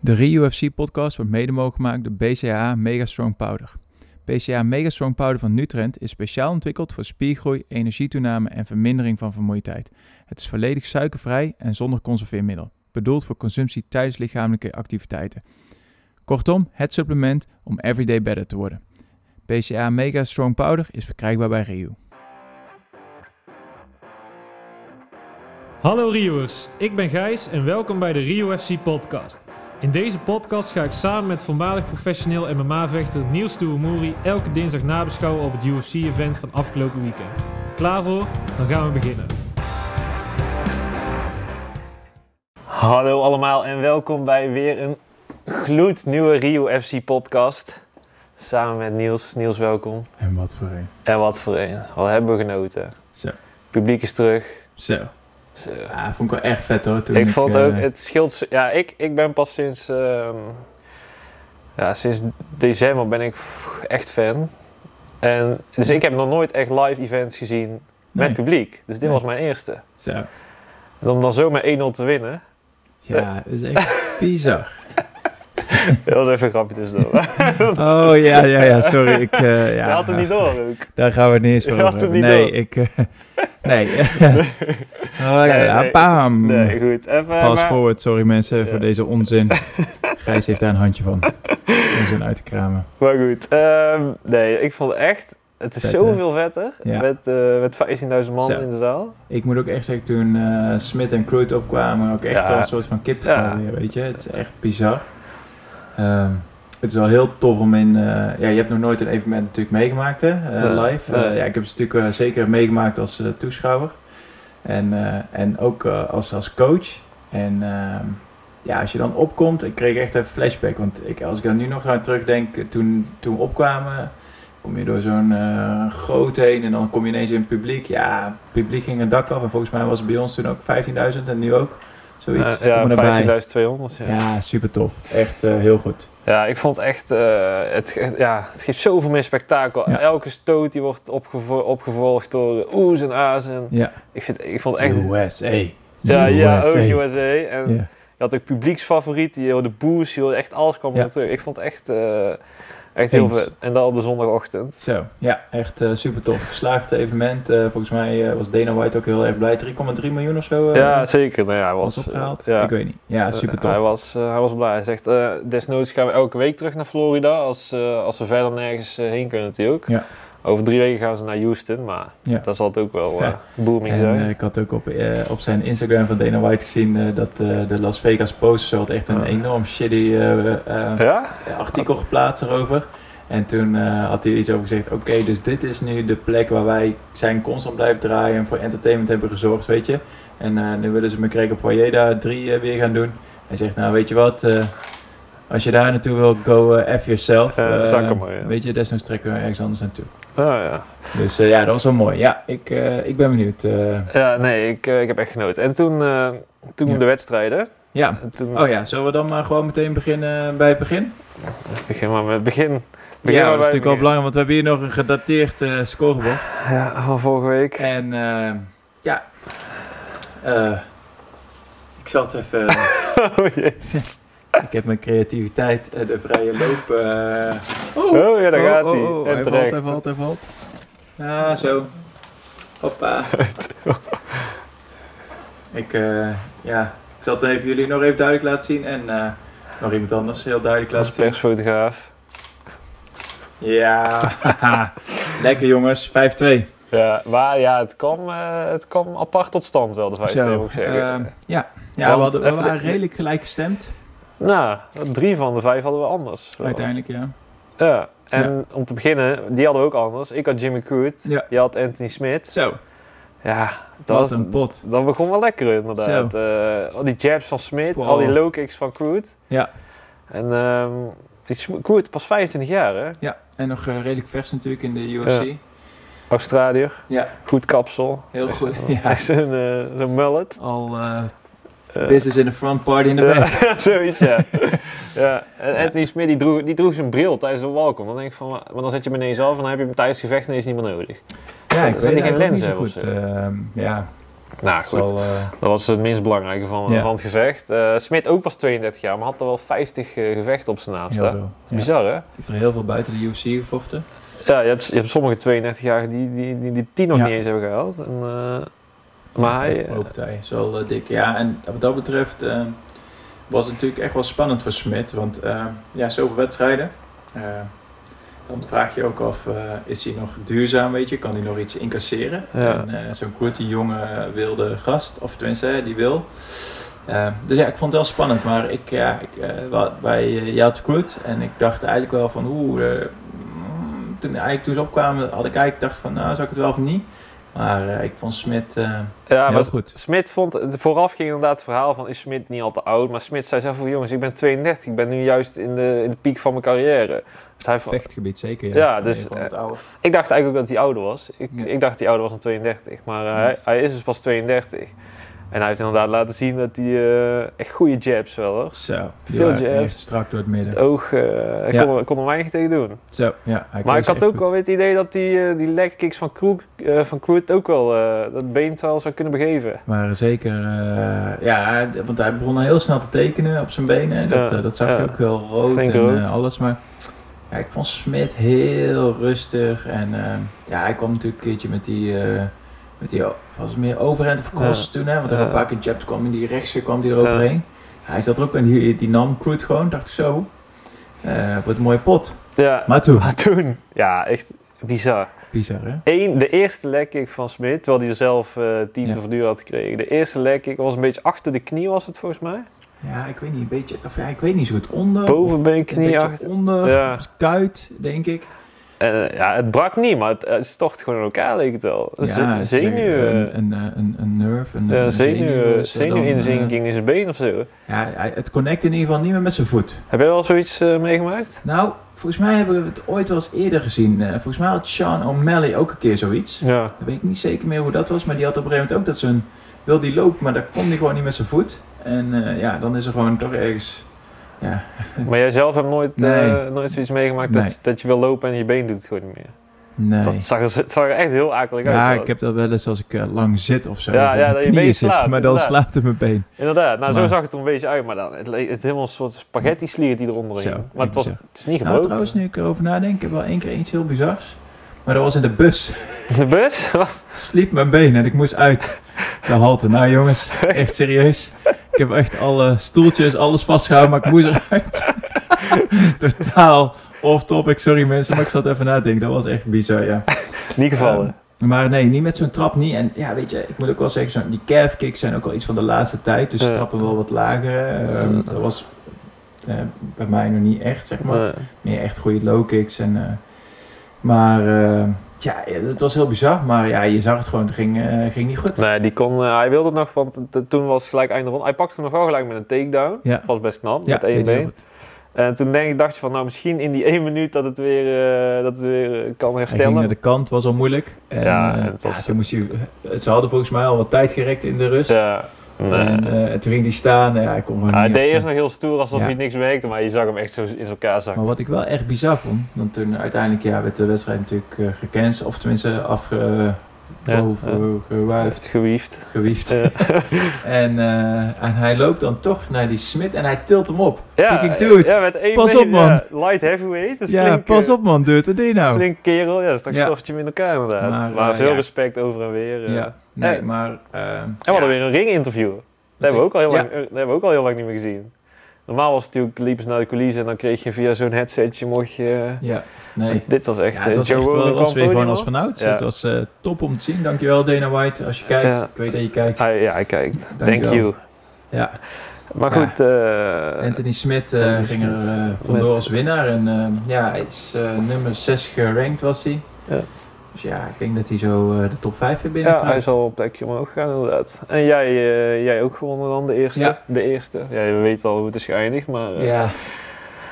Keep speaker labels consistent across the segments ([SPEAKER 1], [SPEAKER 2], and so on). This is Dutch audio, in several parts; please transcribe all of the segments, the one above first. [SPEAKER 1] De ReUFC-podcast wordt mede mogelijk gemaakt door BCAA Mega Strong Powder. BCAA Mega Strong Powder van Nutrend is speciaal ontwikkeld voor spiergroei, energietoename en vermindering van vermoeidheid. Het is volledig suikervrij en zonder conserveermiddel, bedoeld voor consumptie tijdens lichamelijke activiteiten. Kortom, het supplement om everyday better te worden. BCAA Mega Strong Powder is verkrijgbaar bij Reu.
[SPEAKER 2] Hallo Rioers, ik ben Gijs en welkom bij de Rio FC podcast. In deze podcast ga ik samen met voormalig professioneel MMA-vechter Niels Touwemoeri elke dinsdag nabeschouwen op het UFC-event van afgelopen weekend. Klaar voor? Dan gaan we beginnen.
[SPEAKER 3] Hallo allemaal en welkom bij weer een gloednieuwe Rio FC podcast. Samen met Niels. Niels, welkom.
[SPEAKER 1] En wat voor een.
[SPEAKER 3] En wat voor een. Wat hebben we genoten.
[SPEAKER 1] Zo.
[SPEAKER 3] Publiek is terug.
[SPEAKER 1] Zo.
[SPEAKER 3] Zo.
[SPEAKER 1] Ja, vond ik wel echt vet hoor.
[SPEAKER 3] Ik vond
[SPEAKER 1] eh,
[SPEAKER 3] ook, het scheelt... z- Ja, ik, ik ben pas sinds... ehm, ja, sinds december ben ik f- echt fan. En, dus ik heb nog nooit echt live events gezien met publiek. Dus dit
[SPEAKER 1] Nee.
[SPEAKER 3] was mijn eerste.
[SPEAKER 1] Zo.
[SPEAKER 3] En om dan zo met 1-0 te winnen.
[SPEAKER 1] Ja, dat is echt bizar.
[SPEAKER 3] Dat was even een grapje tussendoor.
[SPEAKER 1] Oh ja, ja, ja, sorry. Ik, eh, ja,
[SPEAKER 3] Je had het niet door ook.
[SPEAKER 1] Daar gaan we het niet eens
[SPEAKER 3] Je
[SPEAKER 1] over
[SPEAKER 3] had
[SPEAKER 1] hebben.
[SPEAKER 3] het niet
[SPEAKER 1] Nee,
[SPEAKER 3] door.
[SPEAKER 1] ik. eh, nee. oh, ja,
[SPEAKER 3] Nee,
[SPEAKER 1] ja,
[SPEAKER 3] nee.
[SPEAKER 1] bam.
[SPEAKER 3] Nee, goed. Even,
[SPEAKER 1] Fast
[SPEAKER 3] maar-
[SPEAKER 1] forward, sorry mensen
[SPEAKER 3] Ja.
[SPEAKER 1] voor deze onzin. Gijs heeft daar een handje van. Onzin uit te kramen.
[SPEAKER 3] Maar goed, ehm, nee, ik vond echt, het is
[SPEAKER 1] Vet, hè?
[SPEAKER 3] zoveel vetter
[SPEAKER 1] Ja.
[SPEAKER 3] met, eh, met 15.000 man
[SPEAKER 1] Zo.
[SPEAKER 3] in de zaal.
[SPEAKER 1] Ik moet ook echt zeggen, toen eh Smit en Crude opkwamen, ook echt
[SPEAKER 3] Ja.
[SPEAKER 1] wel een soort van kippenvel
[SPEAKER 3] Ja.
[SPEAKER 1] weer, weet je. Het is echt bizar. Ehm, het is wel heel tof om in... eh, ja, je hebt nog nooit een evenement natuurlijk meegemaakt, hè, eh,
[SPEAKER 3] Nee,
[SPEAKER 1] live.
[SPEAKER 3] nee.
[SPEAKER 1] Eh, ja, ik heb het natuurlijk eh, zeker meegemaakt als eh, toeschouwer. En, eh, en ook eh, als, als coach. En ehm, ja, als je dan opkomt, ik kreeg echt een flashback. Want ik, als ik daar nu nog aan terugdenk, eh, toen, toen we opkwamen, kom je door zo'n eh, goot heen en dan kom je ineens in het publiek. Ja, het publiek ging een dak af en volgens mij was het bij ons toen ook 15.000 en nu ook. Zoiets.
[SPEAKER 3] Eh, ja,
[SPEAKER 1] Kom erbij.
[SPEAKER 3] 15.200. Ja.
[SPEAKER 1] Ja, super tof. Echt eh, heel goed.
[SPEAKER 3] ja, ik vond echt, eh, het, ge- ja, het geeft zoveel meer spektakel.
[SPEAKER 1] Ja.
[SPEAKER 3] Elke stoot die wordt opgevo- opgevolgd door oes en a's. En
[SPEAKER 1] Ja.
[SPEAKER 3] ik, vind, ik vond echt,
[SPEAKER 1] USA.
[SPEAKER 3] ja, ja, ook
[SPEAKER 1] USA.
[SPEAKER 3] USA. En
[SPEAKER 1] Ja.
[SPEAKER 3] je had ook publieksfavoriet, je hoorde boos, je hoorde echt alles kwam
[SPEAKER 1] Ja.
[SPEAKER 3] er terug. Ik vond het echt, eh, echt heel
[SPEAKER 1] Eens.
[SPEAKER 3] vet. En dat op de zondagochtend.
[SPEAKER 1] Zo, ja, echt super tof. Geslaagd evenement. Eh, volgens mij eh, was Dana White ook heel erg blij. 3,3 miljoen of zo eh,
[SPEAKER 3] Ja, zeker. Nou ja, hij was,
[SPEAKER 1] was opgehaald.
[SPEAKER 3] eh, ja.
[SPEAKER 1] Ik weet niet. Ja, super tof.
[SPEAKER 3] Hij was, eh, hij was blij. Hij zegt, eh, desnoods gaan we elke week terug naar Florida als, eh, als we verder nergens eh, heen kunnen natuurlijk.
[SPEAKER 1] Ja.
[SPEAKER 3] Over drie weken gaan ze naar Houston, maar
[SPEAKER 1] Ja.
[SPEAKER 3] dat zal het ook wel eh,
[SPEAKER 1] Ja.
[SPEAKER 3] booming
[SPEAKER 1] En
[SPEAKER 3] zijn.
[SPEAKER 1] eh, ik had ook op, eh, op zijn Instagram van Dana White gezien eh, dat eh, de Las Vegas Post zo had echt een
[SPEAKER 3] Ja.
[SPEAKER 1] enorm shitty eh, eh,
[SPEAKER 3] ja?
[SPEAKER 1] artikel geplaatst erover. En toen eh, had hij iets over gezegd, oké, dus dit is nu de plek waar wij zijn constant blijven draaien en voor entertainment hebben gezorgd, weet je. En eh, nu willen ze McGregor Poyeda 3 eh, weer gaan doen. Hij zegt, nou weet je wat, eh, als je daar naartoe wil, go eh, F yourself.
[SPEAKER 3] Ja,
[SPEAKER 1] Eh,
[SPEAKER 3] zak hem maar, ja.
[SPEAKER 1] Weet je, desnoods trekken we ergens anders naartoe.
[SPEAKER 3] Oh, ja.
[SPEAKER 1] Dus eh, ja, dat was wel mooi. Ja, ik, eh, ik ben benieuwd. eh.
[SPEAKER 3] ja, nee, ik, eh, ik heb echt genoten. En toen, eh, toen
[SPEAKER 1] Ja.
[SPEAKER 3] de wedstrijden.
[SPEAKER 1] ja,
[SPEAKER 3] En Toen,
[SPEAKER 1] Oh ja, zullen we dan maar gewoon meteen beginnen bij het begin?
[SPEAKER 3] Begin maar met het begin. Begin
[SPEAKER 1] ja,
[SPEAKER 3] maar
[SPEAKER 1] dat is
[SPEAKER 3] bij het
[SPEAKER 1] natuurlijk wel
[SPEAKER 3] begin.
[SPEAKER 1] belangrijk, want we hebben hier nog een gedateerd eh, scorebord.
[SPEAKER 3] Ja, van vorige week.
[SPEAKER 1] En eh, ja, Eh, ik zal het even...
[SPEAKER 3] Oh, jezus.
[SPEAKER 1] ik heb mijn creativiteit en de vrije loop... eh,
[SPEAKER 3] Oh, ja, daar
[SPEAKER 1] oh,
[SPEAKER 3] gaat
[SPEAKER 1] oh,
[SPEAKER 3] hij.
[SPEAKER 1] oh,
[SPEAKER 3] en
[SPEAKER 1] hij valt,
[SPEAKER 3] terecht.
[SPEAKER 1] hij valt, hij valt. Ah, zo. Hoppa. ik, eh, ja, ik zal het even jullie nog even duidelijk laten zien en eh, nog iemand anders heel duidelijk
[SPEAKER 3] Dat
[SPEAKER 1] laten
[SPEAKER 3] is
[SPEAKER 1] zien.
[SPEAKER 3] persfotograaf.
[SPEAKER 1] Ja, lekker jongens, 5-2.
[SPEAKER 3] Ja, maar ja, het kwam, eh, het kwam apart tot stand wel, de vijfde,
[SPEAKER 1] Zo,
[SPEAKER 3] moet ik zeggen.
[SPEAKER 1] ehm, ja, ja we,
[SPEAKER 3] Want
[SPEAKER 1] hadden, we
[SPEAKER 3] even de-
[SPEAKER 1] waren redelijk gelijk gestemd
[SPEAKER 3] Nou, drie van de vijf hadden we anders. Wel.
[SPEAKER 1] uiteindelijk, ja.
[SPEAKER 3] Ja, en om te beginnen, die hadden we ook anders. Ik had Jimmy Crude,
[SPEAKER 1] Ja.
[SPEAKER 3] je had Anthony Smith.
[SPEAKER 1] Zo,
[SPEAKER 3] Ja, dat,
[SPEAKER 1] wat
[SPEAKER 3] was,
[SPEAKER 1] een pot.
[SPEAKER 3] dat begon wel lekker inderdaad. Eh, al die jabs van Smith,
[SPEAKER 1] Wow.
[SPEAKER 3] al die low kicks van Crude.
[SPEAKER 1] Ja.
[SPEAKER 3] En ehm die Sm- Crude, pas 25 jaar hè,
[SPEAKER 1] Ja, en nog eh, redelijk vers natuurlijk in de UFC. Ja,
[SPEAKER 3] Australiër. Goed kapsel.
[SPEAKER 1] heel
[SPEAKER 3] Echt
[SPEAKER 1] goed.
[SPEAKER 3] een-
[SPEAKER 1] Ja.
[SPEAKER 3] Echt een, eh, een mullet.
[SPEAKER 1] Al eh,
[SPEAKER 3] Eh,
[SPEAKER 1] business in the front, party in the
[SPEAKER 3] ja,
[SPEAKER 1] back.
[SPEAKER 3] zoiets, ja. ja. En Anthony Smith, die droeg, die droeg zijn bril tijdens de walk-on. Dan denk ik van, maar maar dan zet je hem ineens af en dan heb je hem tijdens het gevecht ineens niet meer nodig.
[SPEAKER 1] Ja,
[SPEAKER 3] Zou-
[SPEAKER 1] ik weet
[SPEAKER 3] zou die
[SPEAKER 1] eigenlijk
[SPEAKER 3] geen
[SPEAKER 1] ook
[SPEAKER 3] lens
[SPEAKER 1] niet zo
[SPEAKER 3] hebben of
[SPEAKER 1] goed.
[SPEAKER 3] zo?
[SPEAKER 1] ehm, ja,
[SPEAKER 3] Nou
[SPEAKER 1] is
[SPEAKER 3] goed,
[SPEAKER 1] wel, eh,
[SPEAKER 3] dat was het minst belangrijke van,
[SPEAKER 4] Ja.
[SPEAKER 3] van het gevecht. Eh Smit ook pas 32 jaar, maar had er wel 50 eh, gevechten op zijn naam
[SPEAKER 4] Heel
[SPEAKER 3] staan.
[SPEAKER 4] veel. Ja.
[SPEAKER 3] Bizar hè?
[SPEAKER 1] heeft er heel veel buiten de UFC gevochten.
[SPEAKER 3] Ja, je hebt, je hebt sommige 32-jarigen die, die, die die 10 nog
[SPEAKER 4] Ja.
[SPEAKER 3] niet eens hebben gehaald. En, eh, maar hij... eh,
[SPEAKER 1] Ook partij, is wel eh, dik. Ja, en wat dat betreft eh, was het natuurlijk echt wel spannend voor Smit. Want eh, ja, zoveel wedstrijden. Eh, dan vraag je ook af, eh, is hij nog duurzaam, weet je? Kan hij nog iets incasseren?
[SPEAKER 3] Ja.
[SPEAKER 1] En eh, zo'n korte, jonge, wilde gast, of tenminste, hè, die wil. Eh, dus ja, ik vond het wel spannend. Maar ik, ja, ik, eh, wa- wij, eh, je had Kurt en ik dacht eigenlijk wel van, oeh... eh, mm, toen, eigenlijk toen ze opkwamen, had ik eigenlijk gedacht van, nou, zou ik het wel of niet? Maar eh, ik vond Smit... eh,
[SPEAKER 3] ja,
[SPEAKER 4] Heel
[SPEAKER 3] maar
[SPEAKER 4] goed.
[SPEAKER 3] Smit vond, het- vooraf ging inderdaad het verhaal van is Smit niet al te oud, maar Smit zei zelf van jongens ik ben 32, ik ben nu juist in de, in de piek van mijn carrière. Dus hij, vond-
[SPEAKER 4] Vechtgebied zeker, ja.
[SPEAKER 3] ja, dus
[SPEAKER 1] van het oude.
[SPEAKER 3] Ik dacht eigenlijk ook dat hij ouder was. Ik,
[SPEAKER 4] Ja.
[SPEAKER 3] ik dacht die ouder was dan 32, maar eh,
[SPEAKER 1] Ja.
[SPEAKER 3] hij, hij is dus pas 32. En hij heeft inderdaad laten zien dat hij eh, echt goede jabs wel hoor.
[SPEAKER 4] Zo.
[SPEAKER 3] Veel
[SPEAKER 4] Ja,
[SPEAKER 3] jabs.
[SPEAKER 4] echt strak door het
[SPEAKER 3] Het
[SPEAKER 4] midden.
[SPEAKER 3] oog, eh, hij
[SPEAKER 4] Ja.
[SPEAKER 3] kon, er- kon er weinig tegen doen.
[SPEAKER 4] Zo, ja. hij kreeg
[SPEAKER 3] maar
[SPEAKER 1] dus
[SPEAKER 3] ik
[SPEAKER 4] ze
[SPEAKER 3] had
[SPEAKER 4] echt
[SPEAKER 3] ook
[SPEAKER 4] goed.
[SPEAKER 3] wel weer het idee dat die, eh, die leg kicks van Kroet van Kroet ook wel eh, dat been het wel zou kunnen begeven.
[SPEAKER 4] waren zeker... eh,
[SPEAKER 1] Eh, ja, d- want hij begon al heel snel te tekenen op zijn benen. En dat,
[SPEAKER 3] Ja,
[SPEAKER 1] eh, dat zag je
[SPEAKER 3] ja.
[SPEAKER 1] ook heel rood
[SPEAKER 3] Flink
[SPEAKER 1] en
[SPEAKER 3] rood.
[SPEAKER 1] eh, alles. Maar ja, ik vond Smit heel rustig. En eh, ja, hij kwam natuurlijk een keertje met die... eh, met die o- was het meer overhand of cross
[SPEAKER 3] Ja.
[SPEAKER 1] toen, hè? Want er
[SPEAKER 3] Ja.
[SPEAKER 1] een paar keer jab kwam en die rechtse kwam die eroverheen. Hij zat er ook en die, die nam Crude gewoon. Dacht ik zo, eh, wordt een mooie pot.
[SPEAKER 3] Ja,
[SPEAKER 4] Maar toen,
[SPEAKER 3] maar toen, ja echt bizar.
[SPEAKER 4] bizar hè?
[SPEAKER 3] Eén, de eerste leg kick van Smit, terwijl hij er zelf eh tien
[SPEAKER 4] Ja.
[SPEAKER 3] te verduren had gekregen. De eerste leg kick was een beetje achter de knie was het volgens mij.
[SPEAKER 1] Ja, ik weet niet, een beetje... Of ja, ik weet niet zo goed. Onder... of
[SPEAKER 3] Bovenbeen,
[SPEAKER 1] een
[SPEAKER 3] knie
[SPEAKER 1] beetje
[SPEAKER 3] achter.
[SPEAKER 1] onder. dus
[SPEAKER 3] Ja.
[SPEAKER 1] Kuit, denk ik.
[SPEAKER 3] En, eh, ja, het brak niet, maar het, het stort gewoon in elkaar, leek het wel.
[SPEAKER 1] Ja,
[SPEAKER 3] Ze-
[SPEAKER 1] zeker.
[SPEAKER 3] zenuwen.
[SPEAKER 1] Een, een, eh, een, een nerve, een,
[SPEAKER 3] Ja,
[SPEAKER 1] een zenuw,
[SPEAKER 3] zenuwen-
[SPEAKER 1] is er dan, eh,
[SPEAKER 3] Zenuwinzinking in zijn been of zo.
[SPEAKER 1] ja, hij- het connect in ieder geval niet meer met zijn voet.
[SPEAKER 3] Heb jij wel zoiets eh, meegemaakt?
[SPEAKER 1] Nou, volgens mij hebben we het ooit wel eens eerder gezien. Eh, volgens mij had Sean O'Malley ook een keer zoiets.
[SPEAKER 3] Ja.
[SPEAKER 1] Ik weet niet zeker meer hoe dat was, maar die had op een gegeven moment ook dat zijn... Wil die loopt, maar daar kon hij gewoon niet met zijn voet. En eh, ja, dan is er gewoon toch ergens...
[SPEAKER 3] Maar jij zelf hebt nooit, eh,
[SPEAKER 4] Nee.
[SPEAKER 3] nooit zoiets meegemaakt
[SPEAKER 4] Nee.
[SPEAKER 3] dat, dat je wil lopen en je been doet het gewoon niet meer.
[SPEAKER 4] Nee.
[SPEAKER 3] Dat zag er, het zag er echt heel akelig uit.
[SPEAKER 4] Ja,
[SPEAKER 3] wel.
[SPEAKER 4] ik heb dat wel eens als ik eh, lang zit of zo.
[SPEAKER 3] Ja,
[SPEAKER 4] of op
[SPEAKER 3] ja,
[SPEAKER 4] mijn
[SPEAKER 3] dat je
[SPEAKER 4] knieën
[SPEAKER 3] been
[SPEAKER 4] zit,
[SPEAKER 3] slaat,
[SPEAKER 4] Maar dan
[SPEAKER 3] inderdaad.
[SPEAKER 4] slaapt het mijn been.
[SPEAKER 3] Inderdaad, nou zo
[SPEAKER 4] Maar-
[SPEAKER 3] zag het er een beetje uit, maar dan, het, le- het helemaal een soort spaghetti slier die eronder
[SPEAKER 4] Zo,
[SPEAKER 3] hing. Maar het, was,
[SPEAKER 4] bizar.
[SPEAKER 3] het is niet
[SPEAKER 1] Nou,
[SPEAKER 3] gebroken.
[SPEAKER 1] trouwens, nu ik erover nadenk, ik heb wel één keer iets heel bizars. Maar dat was in de bus.
[SPEAKER 3] De bus?
[SPEAKER 1] Sliep mijn been en ik moest uit de halte. Nou jongens, echt serieus. Ik heb echt alle stoeltjes, alles vastgehouden, maar ik moest eruit. Totaal off-topic, sorry mensen, maar ik zat even na te denken. Dat was echt bizar, ja.
[SPEAKER 3] niet gevallen.
[SPEAKER 1] Maar nee, niet met zo'n trap, niet. En ja, weet je, ik moet ook wel zeggen, zo'n- die calf kicks zijn ook al iets van de laatste tijd. Dus
[SPEAKER 3] Ja.
[SPEAKER 1] trappen wel wat lager. hè. Ehm, dat was eh, bij mij nog niet echt, zeg maar
[SPEAKER 3] Nee.
[SPEAKER 1] meer echt goede low kicks. En, eh, maar eh, ja, het was heel bizar. Maar ja, je zag het gewoon, het ging, eh, ging niet goed.
[SPEAKER 3] Nee, die kon, eh, hij wilde het nog, want t- toen was het gelijk einde rond. Hij pakte hem nog wel gelijk met een takedown.
[SPEAKER 4] Ja.
[SPEAKER 3] Dat was best knap,
[SPEAKER 4] Ja,
[SPEAKER 3] met één
[SPEAKER 4] weet je wel
[SPEAKER 3] been.
[SPEAKER 4] goed.
[SPEAKER 3] En toen denk ik, dacht je van, nou misschien in die één minuut dat het weer, eh, dat het weer eh, kan
[SPEAKER 4] Hij ging naar
[SPEAKER 3] herstellen.
[SPEAKER 4] de kant, was al moeilijk.
[SPEAKER 1] En,
[SPEAKER 3] Ja,
[SPEAKER 1] eh,
[SPEAKER 3] het was-
[SPEAKER 1] ja, toen moest je, ze hadden volgens mij al wat tijd gerekt in de rust.
[SPEAKER 3] Ja, nee.
[SPEAKER 1] En eh, toen ging die staan. Ja, ik kon gewoon
[SPEAKER 3] hij
[SPEAKER 1] niet
[SPEAKER 3] deed eerst
[SPEAKER 1] opstaan.
[SPEAKER 3] nog heel stoer alsof
[SPEAKER 4] Ja.
[SPEAKER 3] hij niks merkte, maar je zag hem echt zo in elkaar zakken.
[SPEAKER 1] Maar wat ik wel echt bizar vond, want toen uiteindelijk ja, werd de wedstrijd natuurlijk eh, gecanceld. Of tenminste afge... eh,
[SPEAKER 3] Ja,
[SPEAKER 1] boven-
[SPEAKER 4] Oh, eh,
[SPEAKER 1] gewuifd,
[SPEAKER 3] Heeft gewiefd.
[SPEAKER 1] gewiefd.
[SPEAKER 3] Ja.
[SPEAKER 1] En, eh, en hij loopt dan toch naar die Smit en hij tilt hem op.
[SPEAKER 3] Ja,
[SPEAKER 4] Thinking, dude,
[SPEAKER 3] ja, met één
[SPEAKER 4] pas
[SPEAKER 3] been,
[SPEAKER 4] op, man.
[SPEAKER 3] ja, light heavyweight. Dus
[SPEAKER 4] Ja,
[SPEAKER 3] flink,
[SPEAKER 4] pas
[SPEAKER 3] eh,
[SPEAKER 4] op man, dude, wat deed je nou?
[SPEAKER 3] Flink kerel, ja, straks
[SPEAKER 4] Ja.
[SPEAKER 3] stort je hem in elkaar inderdaad. Maar,
[SPEAKER 1] Maar, eh,
[SPEAKER 3] veel
[SPEAKER 1] ja.
[SPEAKER 3] respect over en weer. eh.
[SPEAKER 1] Ja, nee,
[SPEAKER 3] Hey.
[SPEAKER 1] maar... eh,
[SPEAKER 3] En we hadden weer een ringinterview. Dat, hebben we ook al heel
[SPEAKER 1] Ja.
[SPEAKER 3] lang, eh, dat hebben we ook al heel lang niet meer gezien. Normaal was het natuurlijk, liepen ze naar de coulissen en dan kreeg je via zo'n headsetje, mocht je... eh,
[SPEAKER 1] Ja, nee.
[SPEAKER 3] Dit was echt...
[SPEAKER 1] Ja,
[SPEAKER 3] eh,
[SPEAKER 1] het was
[SPEAKER 3] Joe
[SPEAKER 1] echt wel,
[SPEAKER 3] Rogan
[SPEAKER 1] het was
[SPEAKER 3] kwam
[SPEAKER 1] weer gewoon
[SPEAKER 3] podium
[SPEAKER 1] als
[SPEAKER 3] op.
[SPEAKER 1] vanouds.
[SPEAKER 3] Ja.
[SPEAKER 1] Het was eh, top om te zien. Dankjewel Dana White als je kijkt.
[SPEAKER 3] Ja.
[SPEAKER 1] Ik weet dat je kijkt.
[SPEAKER 3] Hij, Ah, ja, hij kijkt. Thank
[SPEAKER 1] Dankjewel.
[SPEAKER 3] you.
[SPEAKER 1] Ja.
[SPEAKER 3] Maar
[SPEAKER 1] Ja.
[SPEAKER 3] goed, eh,
[SPEAKER 1] Anthony Smith eh,
[SPEAKER 3] Anthony
[SPEAKER 1] ging er
[SPEAKER 3] Smith
[SPEAKER 1] eh, vandoor
[SPEAKER 3] met-
[SPEAKER 1] als winnaar. En eh, ja, hij is eh, nummer 6 gerankt was hij.
[SPEAKER 3] Ja.
[SPEAKER 1] Dus ja, ik denk dat hij zo eh, de top 5 weer
[SPEAKER 3] ja,
[SPEAKER 1] binnenkrijgt.
[SPEAKER 3] hij is al een plekje omhoog gegaan inderdaad. En jij, eh, jij ook gewonnen dan, de eerste.
[SPEAKER 1] Ja.
[SPEAKER 3] De eerste. Ja, we weten al hoe het is geëindigd, maar... eh,
[SPEAKER 1] Ja.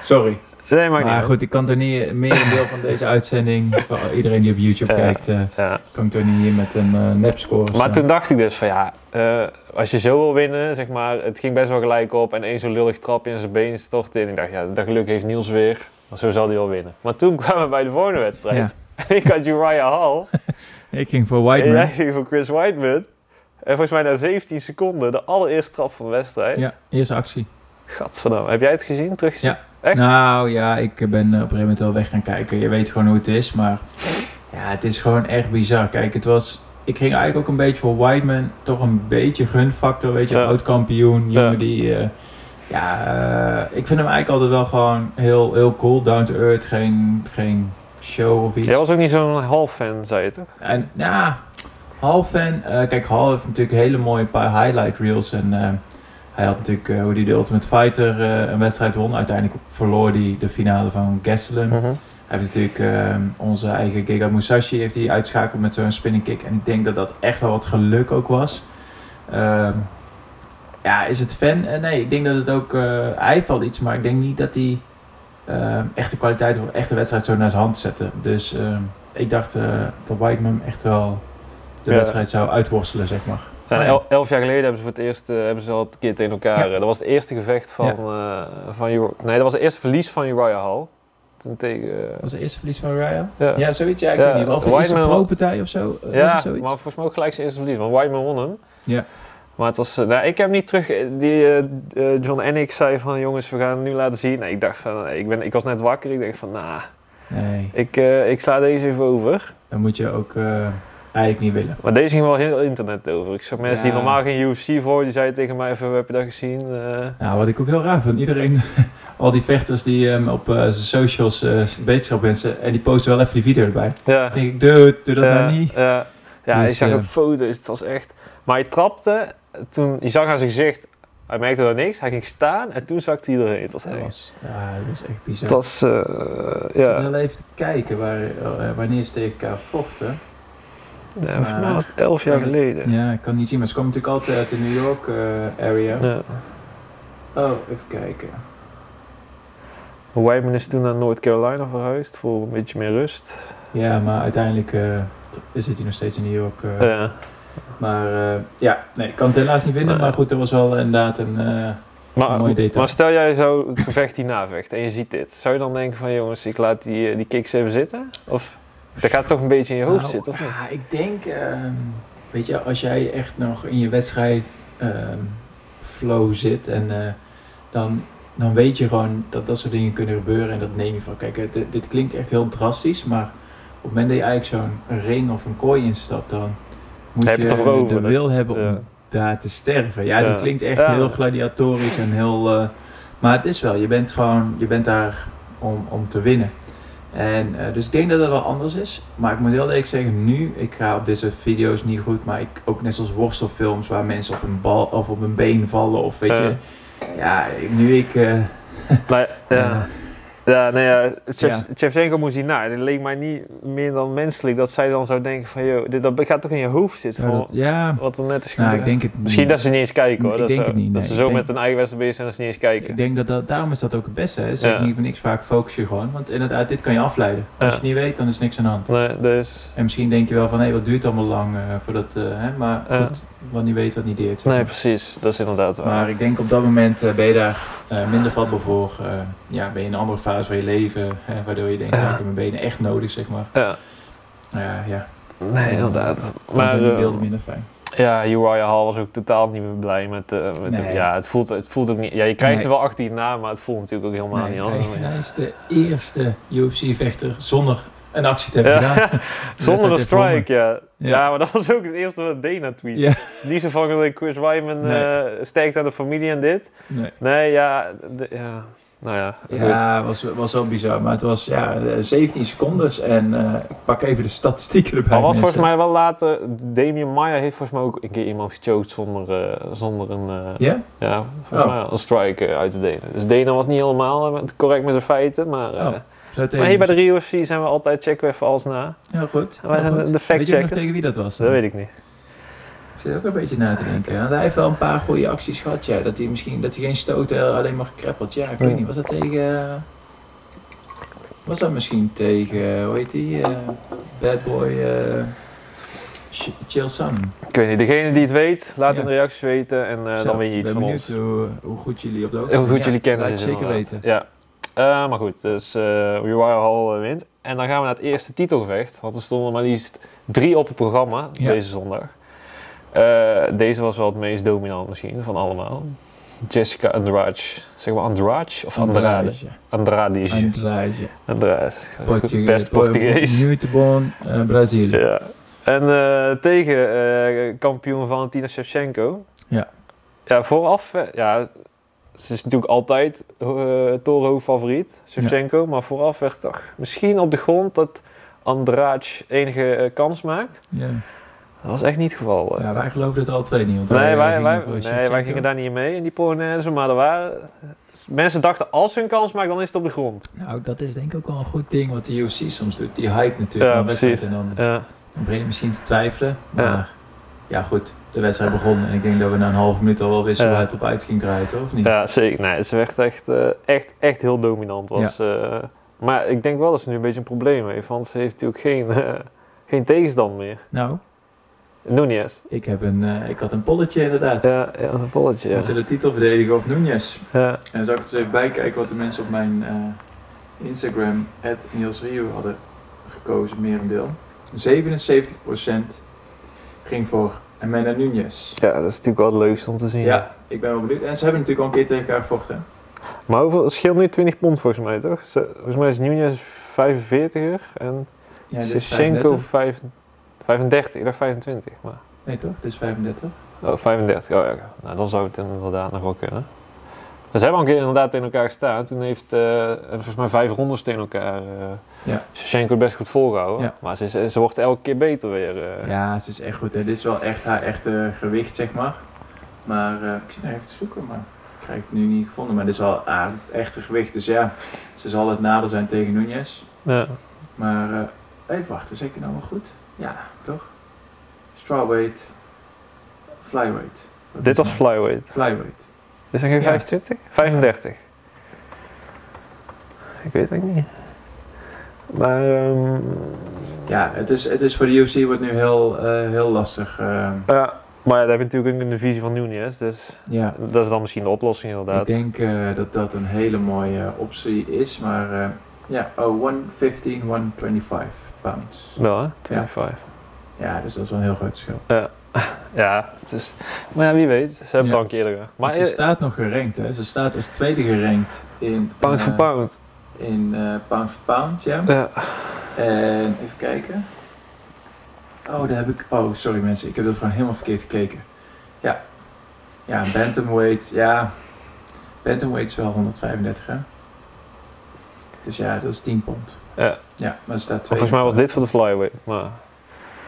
[SPEAKER 1] Sorry.
[SPEAKER 3] Nee, maakt niet
[SPEAKER 1] maar
[SPEAKER 3] uit.
[SPEAKER 1] goed, ik kan er niet eh, meer een deel van deze uitzending. Voor iedereen die op YouTube
[SPEAKER 3] Ja.
[SPEAKER 1] kijkt, eh,
[SPEAKER 3] Ja.
[SPEAKER 1] kan ik er niet hier met een eh nep score.
[SPEAKER 3] Maar toen dacht ik dus van ja, eh, als je zo wil winnen, zeg maar, het ging best wel gelijk op en één zo'n lullig trapje en zijn been stortte in. Ik dacht ja, dat geluk heeft Niels weer, want zo zal hij wel winnen. Maar toen kwamen we bij de volgende wedstrijd. En ik had Uriah Hall
[SPEAKER 4] Ik ging voor
[SPEAKER 3] en
[SPEAKER 4] Whiteman.
[SPEAKER 3] jij ging voor Chris Whiteman. En volgens mij na 17 seconden de allereerste trap van de wedstrijd.
[SPEAKER 1] Ja, eerste actie.
[SPEAKER 3] Gadverdamme. Heb jij het gezien? Teruggezien?
[SPEAKER 1] Ja.
[SPEAKER 3] Echt?
[SPEAKER 1] Nou ja, ik ben eh, op een gegeven moment wel weg gaan kijken. Je weet gewoon hoe het is, maar ja, het is gewoon echt bizar. Kijk, het was, ik ging eigenlijk ook een beetje voor Whiteman, toch een beetje gunfactor, weet je,
[SPEAKER 3] Ja.
[SPEAKER 1] oud kampioen, jongen
[SPEAKER 3] Ja.
[SPEAKER 1] die, eh, ja, eh, ik vind hem eigenlijk altijd wel gewoon heel, heel cool, down to earth, geen, geen show of iets.
[SPEAKER 3] Jij was ook niet zo'n half-fan, zei je toch?
[SPEAKER 1] En ja, Hal fan. eh, kijk, Hal heeft natuurlijk hele mooie paar highlight reels. En eh, hij had natuurlijk eh, hoe hij de Ultimate Fighter eh, een wedstrijd won. Uiteindelijk verloor hij de finale van Gastelum.
[SPEAKER 3] Mhm.
[SPEAKER 1] Hij heeft natuurlijk eh, onze eigen Giga Musashi heeft hij uitschakeld met zo'n spinning kick. En ik denk dat dat echt wel wat geluk ook was. Ehm, ja, is het fan? Eh, nee, ik denk dat het ook... eh hij valt iets, maar ik denk niet dat hij ehm, echt de kwaliteit of echt de wedstrijd zo naar zijn hand zette. Dus ehm, ik dacht eh, dat Whiteman echt wel de
[SPEAKER 3] Ja.
[SPEAKER 1] wedstrijd zou uitworstelen, zeg maar.
[SPEAKER 3] Nou, el- elf jaar geleden hebben ze voor het eerst eh, hebben ze al een keer tegen elkaar. eh, Dat was het eerste gevecht van, eh, van Uri- Nee, dat was het eerste verlies van Uriah Hall. Toen tegen. eh,
[SPEAKER 1] Was het eerste verlies van Ryan?
[SPEAKER 3] ja, ja,
[SPEAKER 1] Ja, zoiets. Ja, ik weet
[SPEAKER 3] Ja,
[SPEAKER 1] niet. Of de eerste
[SPEAKER 3] Whiteman wa-
[SPEAKER 1] pro-partij of zo? eh, was het zoiets?
[SPEAKER 3] maar volgens mij ook gelijk zijn eerste verlies, want Whiteman won hem.
[SPEAKER 1] Ja.
[SPEAKER 3] Maar het was, eh, nou, ik heb niet terug. eh, Die, eh, eh, John Ennick zei van jongens, we gaan het nu laten zien. Nee, ik dacht van, nee, ik, ben, ik was net wakker. Ik denk van, nou,
[SPEAKER 1] Nee,
[SPEAKER 3] ik, eh, ik sla deze even over.
[SPEAKER 1] dat moet je ook eh, eigenlijk niet willen.
[SPEAKER 3] Maar deze ging wel heel internet over. Ik zag mensen die
[SPEAKER 1] Ja.
[SPEAKER 3] normaal geen UFC voor, die zeiden tegen mij even, "Hoe heb je dat gezien? Eh,
[SPEAKER 1] Nou, wat ik ook heel raar vind, iedereen, al die vechters die hem op eh, zijn socials eh wetenschap wensen, en die posten wel even die video erbij.
[SPEAKER 3] ja. Eh,
[SPEAKER 1] Dan denk ik, dude, doe dat nou niet.
[SPEAKER 3] Ja, ja
[SPEAKER 1] Dus,
[SPEAKER 3] ik zag
[SPEAKER 1] eh,
[SPEAKER 3] ook foto's. Het was echt... Maar hij trapte, toen, je zag aan zijn gezicht, hij merkte er niks. Hij ging staan en toen zakte hij erheen. Het was
[SPEAKER 1] Dat
[SPEAKER 3] echt...
[SPEAKER 1] was, ja, dat was echt bizar.
[SPEAKER 3] Het was... eh,
[SPEAKER 1] Ik
[SPEAKER 3] ja.
[SPEAKER 1] zat heel even te kijken waar, eh, wanneer ze tegen elkaar vochten.
[SPEAKER 3] Nee, volgens mij was het elf jaar geleden.
[SPEAKER 1] Ja, ik kan niet zien, maar ze komen natuurlijk altijd uit de New York eh, area.
[SPEAKER 3] Ja.
[SPEAKER 1] Oh, even kijken.
[SPEAKER 3] Wyman is toen naar North Carolina verhuisd voor een beetje meer rust.
[SPEAKER 1] Ja, maar uiteindelijk eh, zit hij nog steeds in New York. eh,
[SPEAKER 3] Ja.
[SPEAKER 1] Maar eh, ja, nee, ik kan het helaas niet vinden,
[SPEAKER 3] Nee.
[SPEAKER 1] maar goed, er was wel inderdaad een... eh,
[SPEAKER 3] Maar,
[SPEAKER 1] Mooi detail.
[SPEAKER 3] maar stel jij zou het gevecht hierna vecht en je ziet dit. Zou je dan denken van jongens, ik laat die, eh, die kicks even zitten? Of dat gaat toch een beetje in je hoofd
[SPEAKER 1] Nou,
[SPEAKER 3] zitten, of niet?
[SPEAKER 1] ah, ik denk, ehm, weet je, als jij echt nog in je wedstrijd ehm, flow zit en eh, dan, dan weet je gewoon dat dat soort dingen kunnen gebeuren en dat neem je van. Kijk, het- dit klinkt echt heel drastisch, maar op het moment dat je eigenlijk zo'n ring of een kooi instapt, dan moet
[SPEAKER 3] Heb je
[SPEAKER 1] je,
[SPEAKER 3] het erover,
[SPEAKER 1] de
[SPEAKER 3] dat-
[SPEAKER 1] wil hebben om
[SPEAKER 3] ja.
[SPEAKER 1] daar te sterven. Ja,
[SPEAKER 3] Ja.
[SPEAKER 1] dat klinkt echt
[SPEAKER 3] Ja.
[SPEAKER 1] heel gladiatorisch en heel... eh, maar het is wel, je bent gewoon, je bent daar om, om te winnen. En, eh, dus ik denk dat dat wel anders is. Maar ik moet heel eerlijk zeggen, nu, ik ga op deze video's niet goed, maar ik, ook net zoals worstelfilms waar mensen op een bal of op een been vallen of weet
[SPEAKER 3] Ja.
[SPEAKER 1] je. Ja, ik- nu ik... eh,
[SPEAKER 3] Maar, ja. Ja, nou ja,
[SPEAKER 1] Ja.
[SPEAKER 3] Shevchenko moest hierna. Het leek mij niet meer dan menselijk dat zij dan zou denken van... Yo, dit, dat gaat toch in je hoofd zitten,
[SPEAKER 1] zou
[SPEAKER 3] van
[SPEAKER 1] dat- ja,
[SPEAKER 3] wat er net is
[SPEAKER 1] nou,
[SPEAKER 3] gebeurd.
[SPEAKER 1] ik denk het niet.
[SPEAKER 3] Misschien dat ze niet eens kijken, hoor.
[SPEAKER 1] Ik
[SPEAKER 3] dat
[SPEAKER 1] denk
[SPEAKER 3] ze,
[SPEAKER 1] het niet,
[SPEAKER 3] dat
[SPEAKER 1] nee.
[SPEAKER 3] ze zo
[SPEAKER 1] Ik denk-
[SPEAKER 3] met hun eigen wedstrijd bezig zijn dat ze niet eens kijken.
[SPEAKER 1] Ik denk dat, dat daarom is dat ook het beste. Hè? Zeg
[SPEAKER 3] Ja.
[SPEAKER 1] niet voor niks, vaak focus je gewoon. Want inderdaad, dit kan je afleiden. Als
[SPEAKER 3] Ja.
[SPEAKER 1] je het niet weet, dan is niks aan de hand.
[SPEAKER 3] Nee, dus...
[SPEAKER 1] En misschien denk je wel van, hé, wat duurt allemaal lang eh, voordat, eh, hè, maar
[SPEAKER 3] Ja.
[SPEAKER 1] goed, wat niet weet, wat niet deert.
[SPEAKER 3] Nee, precies. Dat is inderdaad waar.
[SPEAKER 1] Maar ik denk op dat moment eh, ben je daar eh, minder vatbaar voor. eh, ja, ben je in een andere fase van je leven, hè, waardoor je denkt,
[SPEAKER 3] Ja.
[SPEAKER 1] ja. ik heb mijn benen echt nodig, zeg maar. Nou
[SPEAKER 3] Ja,
[SPEAKER 1] Ja, ja,
[SPEAKER 3] nee, inderdaad.
[SPEAKER 1] dan
[SPEAKER 3] Maar,
[SPEAKER 1] zijn die
[SPEAKER 3] eh,
[SPEAKER 1] beelden minder fijn.
[SPEAKER 3] Ja, Uriah Hall was ook totaal niet meer blij met, eh, met hem.
[SPEAKER 1] Nee.
[SPEAKER 3] Ja, het voelt, het voelt ook niet... Ja, je krijgt
[SPEAKER 1] Nee.
[SPEAKER 3] er wel 18 na, maar het voelt natuurlijk ook helemaal
[SPEAKER 1] Nee,
[SPEAKER 3] niet als...
[SPEAKER 1] hij, hij is de eerste UFC-vechter zonder een actie te hebben
[SPEAKER 3] Ja.
[SPEAKER 1] gedaan.
[SPEAKER 3] Zonder een
[SPEAKER 1] heeft gewonnen.
[SPEAKER 3] strike, ja. ja.
[SPEAKER 1] Ja.
[SPEAKER 3] maar dat was ook het eerste wat Dana tweet.
[SPEAKER 1] Ja,
[SPEAKER 3] Niet zo van eh, Chris Wyman
[SPEAKER 1] Nee.
[SPEAKER 3] eh, sterkt aan de familie en dit.
[SPEAKER 1] nee.
[SPEAKER 3] Nee, ja, de- ja. nou ja, goed.
[SPEAKER 1] Ja, was, was wel bizar. Maar het was ja, eh, 17 secondes en eh, ik pak even de statistieken erbij.
[SPEAKER 3] Maar was
[SPEAKER 1] mensen.
[SPEAKER 3] volgens mij wel later, Damien Maya heeft volgens mij ook een keer iemand gechoked zonder, eh, zonder een, eh,
[SPEAKER 1] Ja?
[SPEAKER 3] ja, volgens
[SPEAKER 1] Oh.
[SPEAKER 3] mij een strike eh, uit te delen. Dus Dana was niet helemaal eh, met- correct met zijn feiten, maar, eh,
[SPEAKER 1] Oh, Zo tegen
[SPEAKER 3] maar hier bij de Rio FC zijn we altijd, checken we even alles na.
[SPEAKER 1] Heel goed.
[SPEAKER 3] Wij
[SPEAKER 1] heel
[SPEAKER 3] zijn
[SPEAKER 1] goed.
[SPEAKER 3] de fact
[SPEAKER 1] Weet je ook nog
[SPEAKER 3] checkers.
[SPEAKER 1] tegen wie dat was?
[SPEAKER 3] Dat weet ik niet.
[SPEAKER 1] Ik zit ook een beetje na
[SPEAKER 3] Ah,
[SPEAKER 1] te denken. Want hij heeft wel een paar goede acties gehad. Ja. Dat hij misschien dat hij geen stoten, alleen maar gekreppeld. Ja, ik weet
[SPEAKER 3] Ja.
[SPEAKER 1] niet. Was dat tegen... eh, Was dat misschien tegen, eh, hoe heet die? eh, bad boy... eh Ch- Chill Sun.
[SPEAKER 3] Ik weet niet, degene die het weet, laat
[SPEAKER 1] Ja.
[SPEAKER 3] in de reacties weten en eh,
[SPEAKER 1] Zo,
[SPEAKER 3] dan win je
[SPEAKER 1] ben
[SPEAKER 3] iets van
[SPEAKER 1] benieuwd
[SPEAKER 3] ons.
[SPEAKER 1] Hoe, hoe goed jullie op de hoogte
[SPEAKER 3] Heel goed
[SPEAKER 1] zijn.
[SPEAKER 3] jullie
[SPEAKER 1] Ja,
[SPEAKER 3] kennis
[SPEAKER 1] laat
[SPEAKER 3] is
[SPEAKER 1] ik zeker
[SPEAKER 3] inderdaad.
[SPEAKER 1] weten.
[SPEAKER 3] Ja. Eh, maar goed, dus eh Uriah Hall eh, wint. En dan gaan we naar het eerste titelgevecht. Want er stonden maar liefst drie op het programma
[SPEAKER 1] Ja.
[SPEAKER 3] deze zondag. Eh, deze was wel het meest dominant misschien van allemaal. Jessica Andrade. Zeg maar Andrade of Andrade?
[SPEAKER 1] Andrade.
[SPEAKER 3] Andrade.
[SPEAKER 1] Andrade.
[SPEAKER 3] Andrade.
[SPEAKER 1] Portugees.
[SPEAKER 3] Best Portugees.
[SPEAKER 1] New born, eh, Brazilië.
[SPEAKER 3] Ja. En eh, tegen eh, kampioen Valentina Shevchenko.
[SPEAKER 1] Ja.
[SPEAKER 3] Ja, vooraf. eh, Ja, ze is natuurlijk altijd eh torenhoog favoriet, Shevchenko. Maar vooraf werd toch misschien op de grond dat Andrade enige eh, kans maakt.
[SPEAKER 1] Ja.
[SPEAKER 3] Dat was echt niet het geval. eh.
[SPEAKER 1] Ja, wij geloven het alle twee niet. Want
[SPEAKER 3] Nee, wij,
[SPEAKER 1] gingen
[SPEAKER 3] wij,
[SPEAKER 1] voor
[SPEAKER 3] nee,
[SPEAKER 1] Shevchenko.
[SPEAKER 3] wij gingen daar niet in mee in die Polonaise, maar er waren... Mensen dachten, als ze een kans maakt, dan is het op de grond.
[SPEAKER 1] Nou, dat is denk ik ook wel een goed ding wat de UFC soms doet. Die hype natuurlijk.
[SPEAKER 3] Ja,
[SPEAKER 1] een wedstrijd
[SPEAKER 3] precies.
[SPEAKER 1] En dan
[SPEAKER 3] Ja,
[SPEAKER 1] dan breng je misschien te twijfelen. Maar
[SPEAKER 3] Ja.
[SPEAKER 1] ja. goed. De wedstrijd begon en ik denk dat we na een half minuut al wel wisten
[SPEAKER 3] Ja.
[SPEAKER 1] waar het op uit ging draaien, toch? Of niet?
[SPEAKER 3] ja zeker. Nee, ze werd echt, eh, echt, echt heel dominant. Was, eh, maar ik denk wel dat ze nu een beetje een probleem heeft, want ze heeft natuurlijk geen, eh, geen tegenstand meer.
[SPEAKER 1] Nou,
[SPEAKER 3] Nunez.
[SPEAKER 1] ik, heb een, eh, ik had een polletje inderdaad.
[SPEAKER 3] Ja, ja, een bolletje. Ja.
[SPEAKER 1] Moeten de titel verdedigen of Nunez?
[SPEAKER 3] Ja,
[SPEAKER 1] En dan zal ik er eens even bij kijken wat de mensen op mijn eh, Instagram, Niels Rio, hadden gekozen, merendeel. 77% ging voor Amanda Nunez.
[SPEAKER 3] ja, dat is natuurlijk wel het leukste om te zien.
[SPEAKER 1] Ja, ik ben wel benieuwd. En ze hebben natuurlijk al een keer tegen elkaar gevochten.
[SPEAKER 3] Maar hoeveel, het scheelt nu 20 pond volgens mij, toch? Ze- volgens mij is Nunez 45er en
[SPEAKER 1] Ja, dit is
[SPEAKER 3] Shevchenko
[SPEAKER 1] 35.
[SPEAKER 3] 5 35. Ik dacht 25, maar...
[SPEAKER 1] Nee toch? Dit is 35.
[SPEAKER 3] Oh, 35. Oh ja, nou, dan zou het inderdaad nog wel kunnen. Dus Ze hebben al een keer inderdaad tegen elkaar gestaan. Toen heeft, eh, hebben volgens mij vijf rondes tegen elkaar eh
[SPEAKER 1] Ja.
[SPEAKER 3] Shevchenko het best goed volgehouden.
[SPEAKER 1] Ja.
[SPEAKER 3] Maar ze, is- ze wordt elke keer beter weer. eh.
[SPEAKER 1] Ja, ze is echt goed. Hè. Dit is wel echt haar echte gewicht, zeg maar. Maar eh, ik zit nog even te zoeken, maar ik krijg het nu niet gevonden. Maar dit is wel haar echte gewicht. Dus ja, ze zal het nadeel zijn tegen Nunez.
[SPEAKER 3] Ja.
[SPEAKER 1] Maar eh, even wachten, zeker nou wel goed? Ja, toch? Strawweight, flyweight. Wat
[SPEAKER 3] Dit
[SPEAKER 1] is
[SPEAKER 3] was
[SPEAKER 1] nou?
[SPEAKER 3] flyweight.
[SPEAKER 1] flyweight.
[SPEAKER 3] Is dat geen
[SPEAKER 1] Ja.
[SPEAKER 3] 25? 35. Ik weet het eigenlijk niet. Maar ehm,
[SPEAKER 1] Ja, het is, het is voor de UFC wordt nu heel, eh, heel lastig. eh,
[SPEAKER 3] ja, maar ja, daar heb je natuurlijk ook een divisie van Nunez. Dus
[SPEAKER 1] ja.
[SPEAKER 3] dat is dan misschien de oplossing
[SPEAKER 1] Ik
[SPEAKER 3] inderdaad.
[SPEAKER 1] denk eh, dat dat een hele mooie eh, optie is, maar eh, ja, oh, 115, 125 pounds.
[SPEAKER 3] Wel hè? 25.
[SPEAKER 1] Ja, dus dat is wel een heel groot verschil.
[SPEAKER 3] Ja, het is, maar ja, wie weet. Ze hebben het
[SPEAKER 1] Ja.
[SPEAKER 3] al een keer gedaan.
[SPEAKER 1] Maar
[SPEAKER 3] Maar
[SPEAKER 1] ze
[SPEAKER 3] eh,
[SPEAKER 1] staat nog gerankt, hè? Ze staat als tweede gerankt in
[SPEAKER 3] pound
[SPEAKER 1] eh,
[SPEAKER 3] voor pound.
[SPEAKER 1] In eh, pound for pound, ja.
[SPEAKER 3] Ja.
[SPEAKER 1] En even kijken. Oh, daar heb ik. Oh, sorry mensen, ik heb dat gewoon helemaal verkeerd gekeken. Ja. Ja, Bantamweight, ja. Bantamweight is wel 135, hè? Dus ja, dat is 10 pond.
[SPEAKER 3] Ja.
[SPEAKER 1] Ja, maar er staat twee.
[SPEAKER 3] Volgens mij was dit voor de flyweight, maar...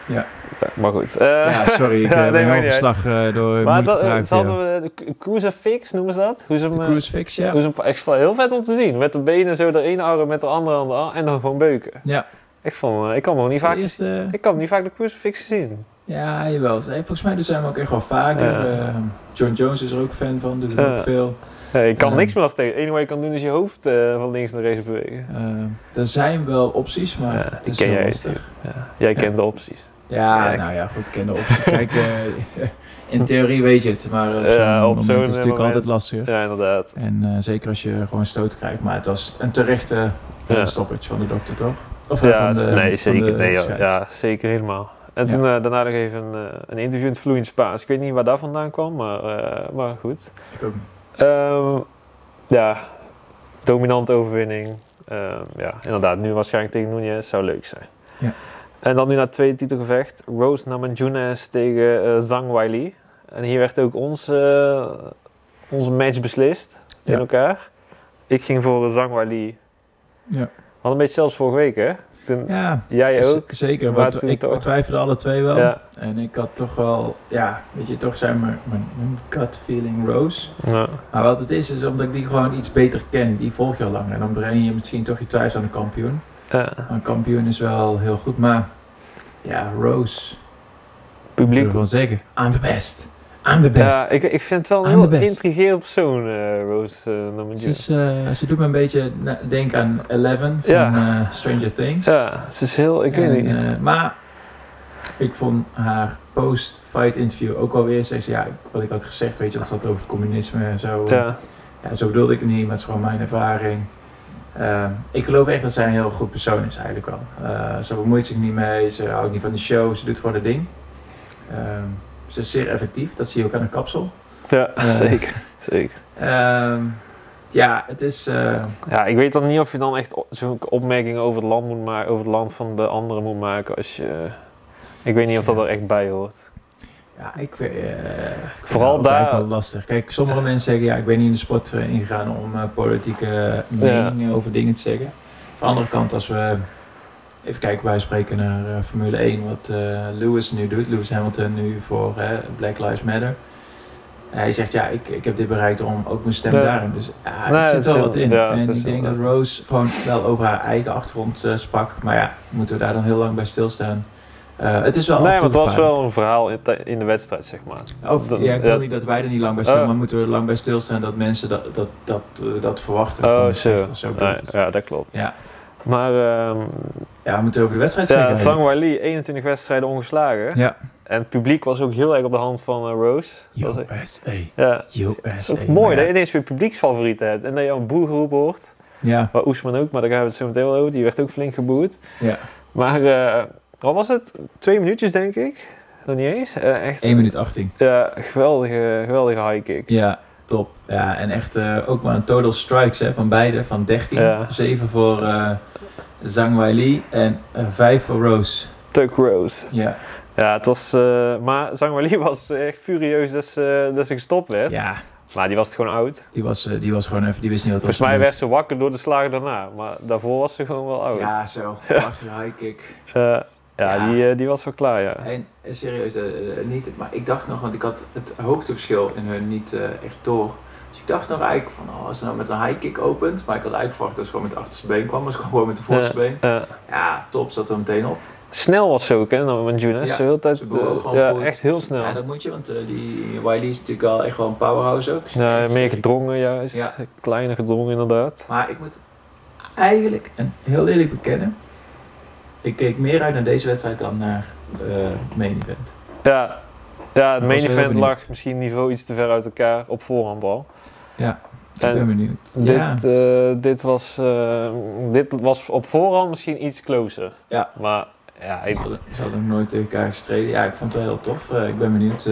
[SPEAKER 1] Ja.
[SPEAKER 3] Ja, Maar goed. Eh,
[SPEAKER 1] Ja, sorry, ik
[SPEAKER 3] Ja,
[SPEAKER 1] heb
[SPEAKER 3] nee,
[SPEAKER 1] ben heel
[SPEAKER 3] maakt niet
[SPEAKER 1] verslag eh, door moeilijke
[SPEAKER 3] maar dat, eh,
[SPEAKER 1] vragen
[SPEAKER 3] ze
[SPEAKER 1] voor
[SPEAKER 3] hadden
[SPEAKER 1] jou.
[SPEAKER 3] we de k- crucifix, noemen ze dat? Hoe ze hem,
[SPEAKER 1] De
[SPEAKER 3] eh,
[SPEAKER 1] crucifix, ja.
[SPEAKER 3] hoe ze hem- echt wel heel vet om te zien. Met de benen zo de ene arm met de andere aan de arm en dan gewoon beuken.
[SPEAKER 1] Ja.
[SPEAKER 3] Ik, vond, eh, ik kan nog niet vaak...
[SPEAKER 1] Eerst, eh,
[SPEAKER 3] Ik kan niet vaak de crucifix zien.
[SPEAKER 1] Ja, jawel. Ze- Volgens mij dus zijn we ook echt wel vaker.
[SPEAKER 3] Ja.
[SPEAKER 1] eh, John Jones is er ook fan van, doet het
[SPEAKER 3] Ja.
[SPEAKER 1] ook veel.
[SPEAKER 3] Nee, ik kan
[SPEAKER 1] Ehm.
[SPEAKER 3] niks meer als tegen. Het enige wat je kan doen is je hoofd eh, van links naar rechts bewegen.
[SPEAKER 1] Eh, er zijn wel opties, maar
[SPEAKER 3] Ja,
[SPEAKER 1] het
[SPEAKER 3] die
[SPEAKER 1] is
[SPEAKER 3] ken
[SPEAKER 1] heel
[SPEAKER 3] jij
[SPEAKER 1] lastig.
[SPEAKER 3] Ja. Jij
[SPEAKER 1] Ja.
[SPEAKER 3] kent de opties.
[SPEAKER 1] Ja,
[SPEAKER 3] Ja,
[SPEAKER 1] nou ja, goed, ken de opties. Kijk, eh, in theorie weet je het, maar eh,
[SPEAKER 3] Ja, op
[SPEAKER 1] op zo'n
[SPEAKER 3] zo'n
[SPEAKER 1] moment is het natuurlijk
[SPEAKER 3] moment.
[SPEAKER 1] altijd lastiger.
[SPEAKER 3] Ja, inderdaad.
[SPEAKER 1] En eh, zeker als je gewoon stoot krijgt, maar het was een terechte eh,
[SPEAKER 3] Ja.
[SPEAKER 1] stoppage van de dokter, toch? Of eh,
[SPEAKER 3] Ja,
[SPEAKER 1] van de-
[SPEAKER 3] nee,
[SPEAKER 1] van
[SPEAKER 3] zeker.
[SPEAKER 1] de
[SPEAKER 3] Nee, ja,
[SPEAKER 1] scheids.
[SPEAKER 3] ja, zeker helemaal. En
[SPEAKER 1] Ja.
[SPEAKER 3] toen eh, daarna nog even een, eh, een interview in het vloeiend Spaans. Ik weet niet waar dat vandaan kwam, maar, eh, maar goed.
[SPEAKER 1] Ik ook niet.
[SPEAKER 3] Ehm, ja, dominante overwinning. Ehm, ja, inderdaad. Nu waarschijnlijk tegen Nunez zou leuk zijn.
[SPEAKER 1] Ja.
[SPEAKER 3] En dan nu naar het tweede titelgevecht. Rose Namajunas tegen eh Zhang Weili. En hier werd ook ons, eh, onze match beslist in
[SPEAKER 1] Ja.
[SPEAKER 3] elkaar. Ik ging voor eh, Zhang Weili.
[SPEAKER 1] Ja.
[SPEAKER 3] Had een beetje zelfs vorige week, hè? Toen,
[SPEAKER 1] Ja,
[SPEAKER 3] Jij
[SPEAKER 1] z-
[SPEAKER 3] ook?
[SPEAKER 1] zeker.
[SPEAKER 3] maar
[SPEAKER 1] Maar
[SPEAKER 3] toen
[SPEAKER 1] ik
[SPEAKER 3] toch-
[SPEAKER 1] twijfelde alle twee wel.
[SPEAKER 3] Ja.
[SPEAKER 1] En ik had toch wel, ja, weet je, toch zijn mijn, mijn, mijn gut feeling Rose.
[SPEAKER 3] Ja.
[SPEAKER 1] Maar wat het is, is omdat ik die gewoon iets beter ken. Die volg je al langer. En dan breng je misschien toch je thuis aan een kampioen.
[SPEAKER 3] Ja.
[SPEAKER 1] Maar Een kampioen is wel heel goed, maar ja, Rose. Ik
[SPEAKER 3] Publiek.
[SPEAKER 1] wil zeggen, I'm the best. I'm the best.
[SPEAKER 3] Ja, ik, ik vind het wel een
[SPEAKER 1] Aan de
[SPEAKER 3] heel
[SPEAKER 1] best.
[SPEAKER 3] intrigerend persoon, eh, Rose eh
[SPEAKER 1] ze,
[SPEAKER 3] Namajunas.
[SPEAKER 1] is, eh, ze doet me een beetje na- denken aan Eleven van
[SPEAKER 3] Ja.
[SPEAKER 1] eh, Stranger Things.
[SPEAKER 3] Ja, ze is heel, ik weet
[SPEAKER 1] En,
[SPEAKER 3] niet.
[SPEAKER 1] eh, maar ik vond haar post-fight interview ook alweer. Ze zei, ja, wat ik had gezegd, weet je, dat zat over het communisme en zo.
[SPEAKER 3] ja,
[SPEAKER 1] Ja, zo bedoelde ik het niet, maar het is gewoon mijn ervaring. Ehm, ik geloof echt dat zij een heel goed persoon is eigenlijk wel. Eh, ze bemoeit zich niet mee, ze houdt niet van de show, ze doet gewoon haar ding. Ehm, Ze is zeer effectief, dat zie je ook aan de kapsel.
[SPEAKER 3] Ja,
[SPEAKER 1] Eh.
[SPEAKER 3] zeker. zeker.
[SPEAKER 1] Ehm, ja, het is. eh,
[SPEAKER 3] Ja, ik weet dan niet of je dan echt o- zo'n opmerking over het land moet maken, over het land van de anderen moet maken als je... Ik weet niet of dat er echt bij hoort.
[SPEAKER 1] ja, ik, weet- eh, ik vind
[SPEAKER 3] Vooral
[SPEAKER 1] dat ook eigenlijk
[SPEAKER 3] daar-
[SPEAKER 1] wel lastig. Kijk, sommige mensen zeggen: ja, ik ben niet in de sport eh, ingegaan om eh, politieke meningen over dingen te zeggen. Aan de andere kant, als we. Even kijken, wij spreken naar eh, Formule 1, wat eh, Lewis nu doet. Lewis Hamilton nu voor eh, Black Lives Matter. hij zegt, ja, ik, ik heb dit bereikt om ook mijn stem
[SPEAKER 3] Nee.
[SPEAKER 1] daarin. Dus ja,
[SPEAKER 3] Nee,
[SPEAKER 1] er
[SPEAKER 3] het
[SPEAKER 1] zit
[SPEAKER 3] is
[SPEAKER 1] wel
[SPEAKER 3] heel-
[SPEAKER 1] wat in.
[SPEAKER 3] ja, het
[SPEAKER 1] en
[SPEAKER 3] is
[SPEAKER 1] ik denk dat
[SPEAKER 3] inderdaad.
[SPEAKER 1] Rose gewoon wel over haar eigen achtergrond eh, sprak. Maar ja, moeten we daar dan heel lang bij stilstaan? Eh, het is wel af
[SPEAKER 3] Nee,
[SPEAKER 1] en
[SPEAKER 3] maar het
[SPEAKER 1] toe
[SPEAKER 3] was
[SPEAKER 1] gevaarlijk.
[SPEAKER 3] wel een verhaal in, tij- in de wedstrijd, zeg maar.
[SPEAKER 1] Of,
[SPEAKER 3] dat-
[SPEAKER 1] ja, ik
[SPEAKER 3] ja.
[SPEAKER 1] wil niet dat wij er niet lang bij staan,
[SPEAKER 3] Oh.
[SPEAKER 1] maar moeten we er lang bij stilstaan dat mensen dat, dat, dat, eh, dat verwachten.
[SPEAKER 3] Oh,
[SPEAKER 1] Van,
[SPEAKER 3] zo.
[SPEAKER 1] of zo bedoel
[SPEAKER 3] Nee,
[SPEAKER 1] ik het.
[SPEAKER 3] ja, dat klopt.
[SPEAKER 1] Ja.
[SPEAKER 3] Maar ehm
[SPEAKER 1] Ja, we moeten over de wedstrijd
[SPEAKER 3] ja,
[SPEAKER 1] zeggen.
[SPEAKER 3] Zhang Weili, 21 wedstrijden ongeslagen.
[SPEAKER 1] Ja.
[SPEAKER 3] En het publiek was ook heel erg op de hand van eh, Rose. Dat was-
[SPEAKER 1] USA,
[SPEAKER 3] ja. Het
[SPEAKER 1] USA.
[SPEAKER 3] is ook mooi
[SPEAKER 1] Maar
[SPEAKER 3] dat
[SPEAKER 1] ja,
[SPEAKER 3] je ineens weer publieksfavorieten hebt. En dat je een boer geroepen hoort.
[SPEAKER 1] Ja,
[SPEAKER 3] Maar Oesman ook, maar daar gaan we het zo meteen wel over. Die werd ook flink geboerd.
[SPEAKER 1] Ja.
[SPEAKER 3] Maar eh, wat was het? Twee minuutjes, denk ik. Nog niet eens. Eh, echt,
[SPEAKER 1] 1 minuut 18.
[SPEAKER 3] Ja, geweldige, geweldige high kick.
[SPEAKER 1] Ja, top. Ja, en echt eh, ook maar een total strikes hè, van beide, van 13.
[SPEAKER 3] Ja.
[SPEAKER 1] 7 voor eh Zhang Weili en eh, 5 voor Rose.
[SPEAKER 3] Tuck Rose.
[SPEAKER 1] Ja,
[SPEAKER 3] Ja, het was... eh, maar Zhang Weili was echt furieus dat ze, dat ze gestopt werd.
[SPEAKER 1] ja
[SPEAKER 3] Maar die was het gewoon oud.
[SPEAKER 1] die, was, eh, die was gewoon even, die wist niet wat er
[SPEAKER 3] Volgens
[SPEAKER 1] was
[SPEAKER 3] mij
[SPEAKER 1] gebeurd.
[SPEAKER 3] werd ze wakker door de slagen daarna. Maar daarvoor was ze gewoon wel oud. Ja,
[SPEAKER 1] Ja, zo. Prachtige high kick.
[SPEAKER 3] ja,
[SPEAKER 1] Ja.
[SPEAKER 3] Die, eh, die was wel klaar, ja.
[SPEAKER 1] En eh, serieus, eh, eh, niet, maar ik dacht nog, want ik had het hoogteverschil in hun niet eh, echt door. Dus ik dacht nog eigenlijk van, oh, als ze nou met een high kick opent, maar ik had eigenlijk verwacht dat ze gewoon met de achterste been kwam, maar ze kwam gewoon met de voorste been.
[SPEAKER 3] Ja.
[SPEAKER 1] Ja, top, zat er meteen op.
[SPEAKER 3] Eh, Snel was ze ook, hè, dan met Junes.
[SPEAKER 1] Ja,
[SPEAKER 3] de hele tijd,
[SPEAKER 1] ze bewoog
[SPEAKER 3] eh,
[SPEAKER 1] gewoon
[SPEAKER 3] ja,
[SPEAKER 1] goed.
[SPEAKER 3] echt heel snel.
[SPEAKER 1] Ja,
[SPEAKER 3] Ja,
[SPEAKER 1] dat moet je, want eh, die Wiley is natuurlijk wel echt wel een powerhouse ook.
[SPEAKER 3] meer gedrongen juist.
[SPEAKER 1] Ja.
[SPEAKER 3] Kleiner gedrongen inderdaad.
[SPEAKER 1] Maar ik moet eigenlijk, en heel eerlijk bekennen, ik keek meer uit naar deze wedstrijd dan naar eh main event.
[SPEAKER 3] Ja, ja het
[SPEAKER 1] was
[SPEAKER 3] main
[SPEAKER 1] heel
[SPEAKER 3] event
[SPEAKER 1] benieuwd.
[SPEAKER 3] lag misschien niveau iets te ver uit elkaar op voorhand al.
[SPEAKER 1] Ik
[SPEAKER 3] En
[SPEAKER 1] ben benieuwd. ja.
[SPEAKER 3] Dit, eh, dit, was, eh, dit was op voorhand misschien iets closer.
[SPEAKER 1] Ja.
[SPEAKER 3] Maar ja,
[SPEAKER 1] Ze
[SPEAKER 3] ik-
[SPEAKER 1] hadden, ze hadden nog nooit tegen elkaar gestreden. Ja, ik vond het wel heel tof. Eh, ik ben benieuwd.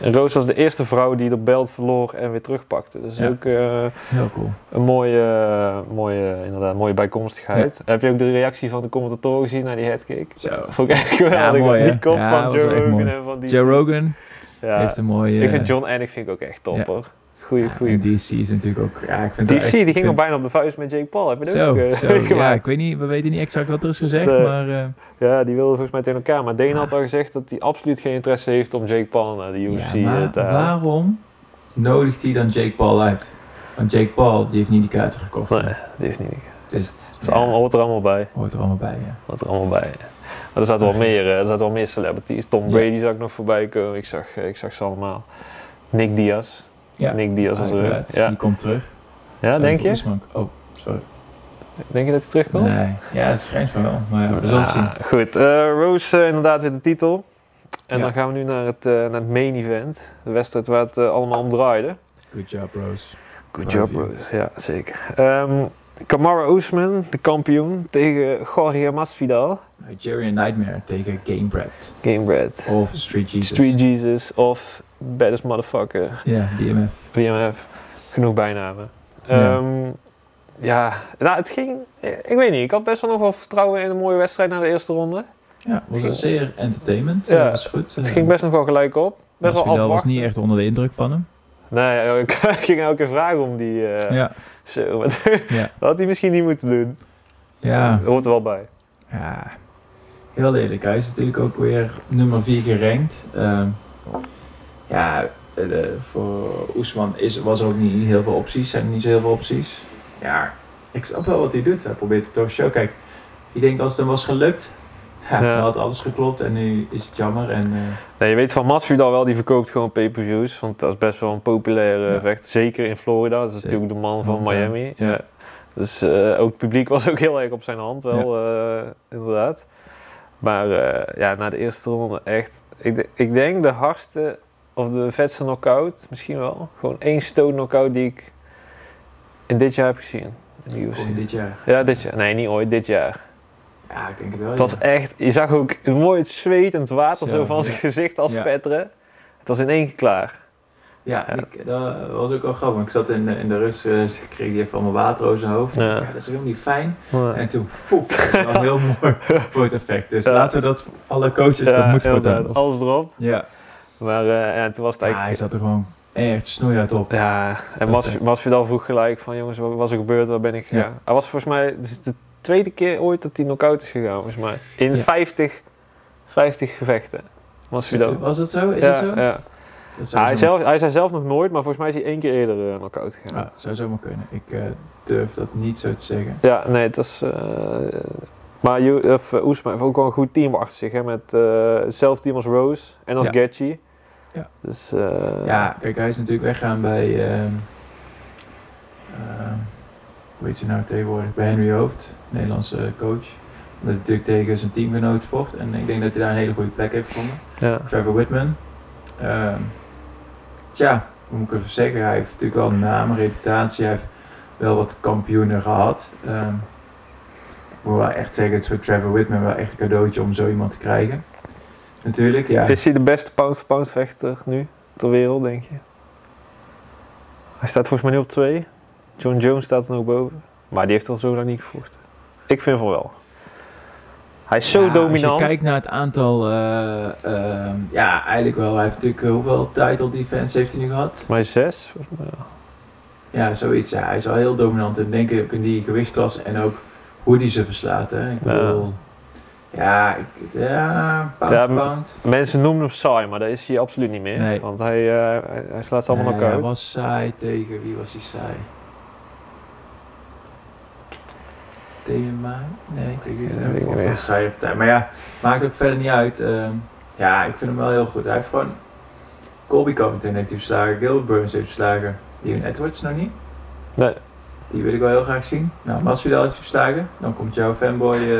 [SPEAKER 1] eh,
[SPEAKER 3] Roos was de eerste vrouw die de belt verloor en weer terugpakte. Dus
[SPEAKER 1] Ja.
[SPEAKER 3] ook eh,
[SPEAKER 1] heel cool.
[SPEAKER 3] een mooie, eh, mooie, inderdaad, mooie bijkomstigheid. Heb je ook de reactie van de commentatoren gezien naar die headkick?
[SPEAKER 1] Zo.
[SPEAKER 3] Vond ik echt geweldig.
[SPEAKER 1] mooi, hè?
[SPEAKER 3] die kop
[SPEAKER 1] Ja,
[SPEAKER 3] van
[SPEAKER 1] was wel
[SPEAKER 3] Joe
[SPEAKER 1] echt
[SPEAKER 3] Rogan
[SPEAKER 1] mooi.
[SPEAKER 3] en van die...
[SPEAKER 1] Joe Rogan
[SPEAKER 3] ja.
[SPEAKER 1] heeft een mooie...
[SPEAKER 3] Ik vind John Anik vind ik ook echt top,
[SPEAKER 1] Ja.
[SPEAKER 3] hoor. Goeie,
[SPEAKER 1] Ja,
[SPEAKER 3] goeie.
[SPEAKER 1] en DC is natuurlijk ook... Ja, ik vind
[SPEAKER 3] DC, die ging al
[SPEAKER 1] op
[SPEAKER 3] bijna op de vuist met Jake Paul. Heb je dat ook
[SPEAKER 1] Zo,
[SPEAKER 3] eh,
[SPEAKER 1] zo ja, ik
[SPEAKER 3] gemaakt?
[SPEAKER 1] weet niet, we weten niet exact wat er is gezegd,
[SPEAKER 3] Nee.
[SPEAKER 1] maar... eh,
[SPEAKER 3] Ja. die wilde volgens mij tegen elkaar. Maar Dana had al gezegd dat hij absoluut geen interesse heeft om Jake Paul naar de UFC
[SPEAKER 1] ja, maar
[SPEAKER 3] eh, te halen.
[SPEAKER 1] waarom nodigt hij dan Jake Paul uit? Want Jake Paul, die heeft niet die kaarten gekocht.
[SPEAKER 3] Nee, die is niet.
[SPEAKER 1] Dus het
[SPEAKER 3] Het
[SPEAKER 1] ja,
[SPEAKER 3] allemaal, hoort er allemaal bij.
[SPEAKER 1] hoort er allemaal bij, ja.
[SPEAKER 3] Hoort er allemaal bij. Maar er zaten wel meer, eh, er zaten wel meer celebrities. Tom
[SPEAKER 1] Ja.
[SPEAKER 3] Brady zag ik nog voorbij komen. Ik zag, eh, ik zag ze allemaal. Nick Diaz.
[SPEAKER 1] Ja, Ah,
[SPEAKER 3] Nick Diaz was er.
[SPEAKER 1] Uiteraard,
[SPEAKER 3] Ja.
[SPEAKER 1] Die komt terug.
[SPEAKER 3] ja,
[SPEAKER 1] Zo,
[SPEAKER 3] denk
[SPEAKER 1] voor
[SPEAKER 3] je?
[SPEAKER 1] Usman- Oh, sorry.
[SPEAKER 3] Denk je dat hij terugkomt?
[SPEAKER 1] Nee. Ja, het schijnt van wel, maar we zullen het zien.
[SPEAKER 3] Ah, Goed, Eh, Rose eh, inderdaad weer de titel. En
[SPEAKER 1] Ja.
[SPEAKER 3] dan gaan we nu naar het, eh, naar het main event. De wedstrijd waar het eh, allemaal om draaide.
[SPEAKER 1] Good job, Rose.
[SPEAKER 3] Good
[SPEAKER 1] Love
[SPEAKER 3] job,
[SPEAKER 1] you.
[SPEAKER 3] Rose. Ja, zeker. Ehm Kamara Oesman, de kampioen, tegen Jorge Masvidal.
[SPEAKER 1] Nigerian Nightmare tegen Gamebred.
[SPEAKER 3] Gamebred.
[SPEAKER 1] Of Street Jesus.
[SPEAKER 3] Street Jesus of Baddest Motherfucker.
[SPEAKER 1] Ja, DMF.
[SPEAKER 3] BMF. Genoeg bijnamen.
[SPEAKER 1] Ja.
[SPEAKER 3] Ehm, ja, nou het ging... Ik weet niet, ik had best wel nog wel vertrouwen in een mooie wedstrijd na de eerste ronde.
[SPEAKER 1] Ja, was wel zeer entertainment.
[SPEAKER 3] Ja,
[SPEAKER 1] Ja, dat is goed.
[SPEAKER 3] Het ging best nog wel gelijk op. Best wel
[SPEAKER 1] Masvidal was
[SPEAKER 3] afwachten.
[SPEAKER 1] niet echt onder de indruk van hem.
[SPEAKER 3] Nee, Nou ik ging elke keer vragen om die. eh,
[SPEAKER 1] Ja,
[SPEAKER 3] Zo, maar
[SPEAKER 1] Ja.
[SPEAKER 3] dat had hij misschien niet moeten doen.
[SPEAKER 1] ja,
[SPEAKER 3] Dat hoort er wel bij.
[SPEAKER 1] ja. Heel eerlijk, hij is natuurlijk ook weer nummer 4 gerankt. Ehm, ja, eh, eh, voor Oesman is, was er ook niet heel veel opties. Zijn er niet zo heel veel opties. Ja, ik snap wel wat hij doet. Hij probeert het toch show. Kijk, ik denk als het hem was gelukt, ja,
[SPEAKER 3] Ja.
[SPEAKER 1] dan had alles geklopt en nu is het jammer. En, eh,
[SPEAKER 3] Nee, je weet van Masvidal wel, die verkoopt gewoon pay-per-views. Want dat is best wel een populaire
[SPEAKER 1] Ja.
[SPEAKER 3] vechter. Zeker in Florida. Dat is
[SPEAKER 1] Zeker.
[SPEAKER 3] natuurlijk de man van
[SPEAKER 1] Want, eh,
[SPEAKER 3] Miami.
[SPEAKER 1] ja.
[SPEAKER 3] Ja. Dus eh, ook het publiek was ook heel erg op zijn hand wel, eh, inderdaad. Maar eh, ja, na de eerste ronde echt... Ik, de- ik denk de hardste of de vetste knockout, misschien wel. Gewoon één stoot knockout die ik in dit jaar heb gezien. In de UFC.
[SPEAKER 1] Kom je dit jaar?
[SPEAKER 3] Ja, dit jaar. Nee, niet ooit, dit jaar.
[SPEAKER 1] Ja, ik denk het wel.
[SPEAKER 3] Het was
[SPEAKER 1] ja.
[SPEAKER 3] echt, je zag ook mooi het zweet en het water
[SPEAKER 1] Zo,
[SPEAKER 3] zo van
[SPEAKER 1] ja.
[SPEAKER 3] zijn gezicht als
[SPEAKER 1] Ja.
[SPEAKER 3] spetteren. Het was in één keer klaar.
[SPEAKER 1] Ja,
[SPEAKER 3] Ja.
[SPEAKER 1] ik, dat was ook wel grappig. want Ik zat in, in de rust, eh, toen kreeg die even allemaal water over zijn hoofd.
[SPEAKER 3] Ja.
[SPEAKER 1] Ja. dat is helemaal niet fijn.
[SPEAKER 3] Ja,
[SPEAKER 1] En toen, poef, dat was heel mooi voor het effect. Dus
[SPEAKER 3] Ja.
[SPEAKER 1] laten we dat voor alle coaches, Dus dat moet voor
[SPEAKER 3] inderdaad,
[SPEAKER 1] dan.
[SPEAKER 3] alles erop.
[SPEAKER 1] Ja.
[SPEAKER 3] Maar eh, ja, toen was het
[SPEAKER 1] ja, hij
[SPEAKER 3] eigenlijk...
[SPEAKER 1] zat er gewoon echt snoeihard op.
[SPEAKER 3] Ja, en Mas, Masvidal vroeg gelijk van jongens, wat was er gebeurd, waar ben ik gegaan? Hij was volgens mij het is de tweede keer ooit dat hij knock-out is gegaan, volgens mij. In
[SPEAKER 1] Ja.
[SPEAKER 3] 50, 50 gevechten. Masvidal.
[SPEAKER 1] Was dat zo? Is
[SPEAKER 3] ja,
[SPEAKER 1] dat zo?
[SPEAKER 3] ja.
[SPEAKER 1] Dat
[SPEAKER 3] Ja,
[SPEAKER 1] zou
[SPEAKER 3] hij,
[SPEAKER 1] zomaar-
[SPEAKER 3] zelf, hij zei zelf nog nooit, maar volgens mij is hij één keer eerder eh, knock-out gegaan.
[SPEAKER 1] Ja, zou zomaar kunnen. Ik eh, durf dat niet zo te zeggen.
[SPEAKER 3] Ja, nee, het was. eh, maar Ju- of, eh, Oesma heeft ook wel een goed team achter zich. Hè, met eh, zelf team als Rose en als
[SPEAKER 1] Ja.
[SPEAKER 3] Gaethje.
[SPEAKER 1] Ja.
[SPEAKER 3] Dus, eh,
[SPEAKER 1] Ja, kijk, hij is natuurlijk weggaan bij... ehm, ehm, hoe heet ze nou tegenwoordig? Bij Henry Hoofd, Nederlandse coach. Dat hij natuurlijk tegen zijn teamgenoot vocht. En ik denk dat hij daar een hele goede plek heeft gevonden.
[SPEAKER 3] ja.
[SPEAKER 1] Trevor Whitman. Ehm tja, hoe moet ik even zeggen? Hij heeft natuurlijk wel een naam, een reputatie. Hij heeft wel wat kampioenen gehad. Ehm, ik moet wel echt zeggen, het is voor Trevor Whitman wel echt een cadeautje om zo iemand te krijgen. Natuurlijk, ja.
[SPEAKER 3] Is hij de beste pound-for-pound vechter nu ter wereld, denk je? Hij staat volgens mij nu op twee. John Jones staat er nog boven. Maar die heeft al zo lang niet gevochten. Ik vind van wel. Hij is zo
[SPEAKER 1] Ja,
[SPEAKER 3] dominant.
[SPEAKER 1] Als je kijkt naar het aantal, eh, ehm, ja, eigenlijk wel. Hij heeft natuurlijk eh, hoeveel title defense heeft hij nu gehad?
[SPEAKER 3] Maar zes? volgens mij, ja.
[SPEAKER 1] Ja, zoiets. Ja, hij is wel heel dominant en denk ik ook in die gewichtsklasse en ook hoe die ze verslaat. Hè. Ik
[SPEAKER 3] Ja.
[SPEAKER 1] bedoel, ja, ik, ja, pound
[SPEAKER 3] Ja,
[SPEAKER 1] for pound.
[SPEAKER 3] Mensen noemen hem saai, maar dat is hij absoluut niet meer.
[SPEAKER 1] Nee.
[SPEAKER 3] Want hij, eh, hij- hij slaat ze allemaal
[SPEAKER 1] Nee,
[SPEAKER 3] elkaar
[SPEAKER 1] Hij
[SPEAKER 3] uit.
[SPEAKER 1] was saai tegen, wie was hij saai? Tegen mij? Nee, tegen wie?
[SPEAKER 3] Ja,
[SPEAKER 1] was hij?
[SPEAKER 3] weet ik niet
[SPEAKER 1] Of
[SPEAKER 3] meer.
[SPEAKER 1] een saaie partij. Maar ja, maakt ook verder niet uit. Ehm, ja, ik vind hem wel heel goed. Hij heeft gewoon... Colby Covington heeft hij verslagen, Gilbert Burns heeft verslagen. Leon Edwards nog niet.
[SPEAKER 3] Nee.
[SPEAKER 1] Die wil ik wel heel graag zien. Nou, Masvidal heeft hij verslagen. Dan komt jouw fanboy eh,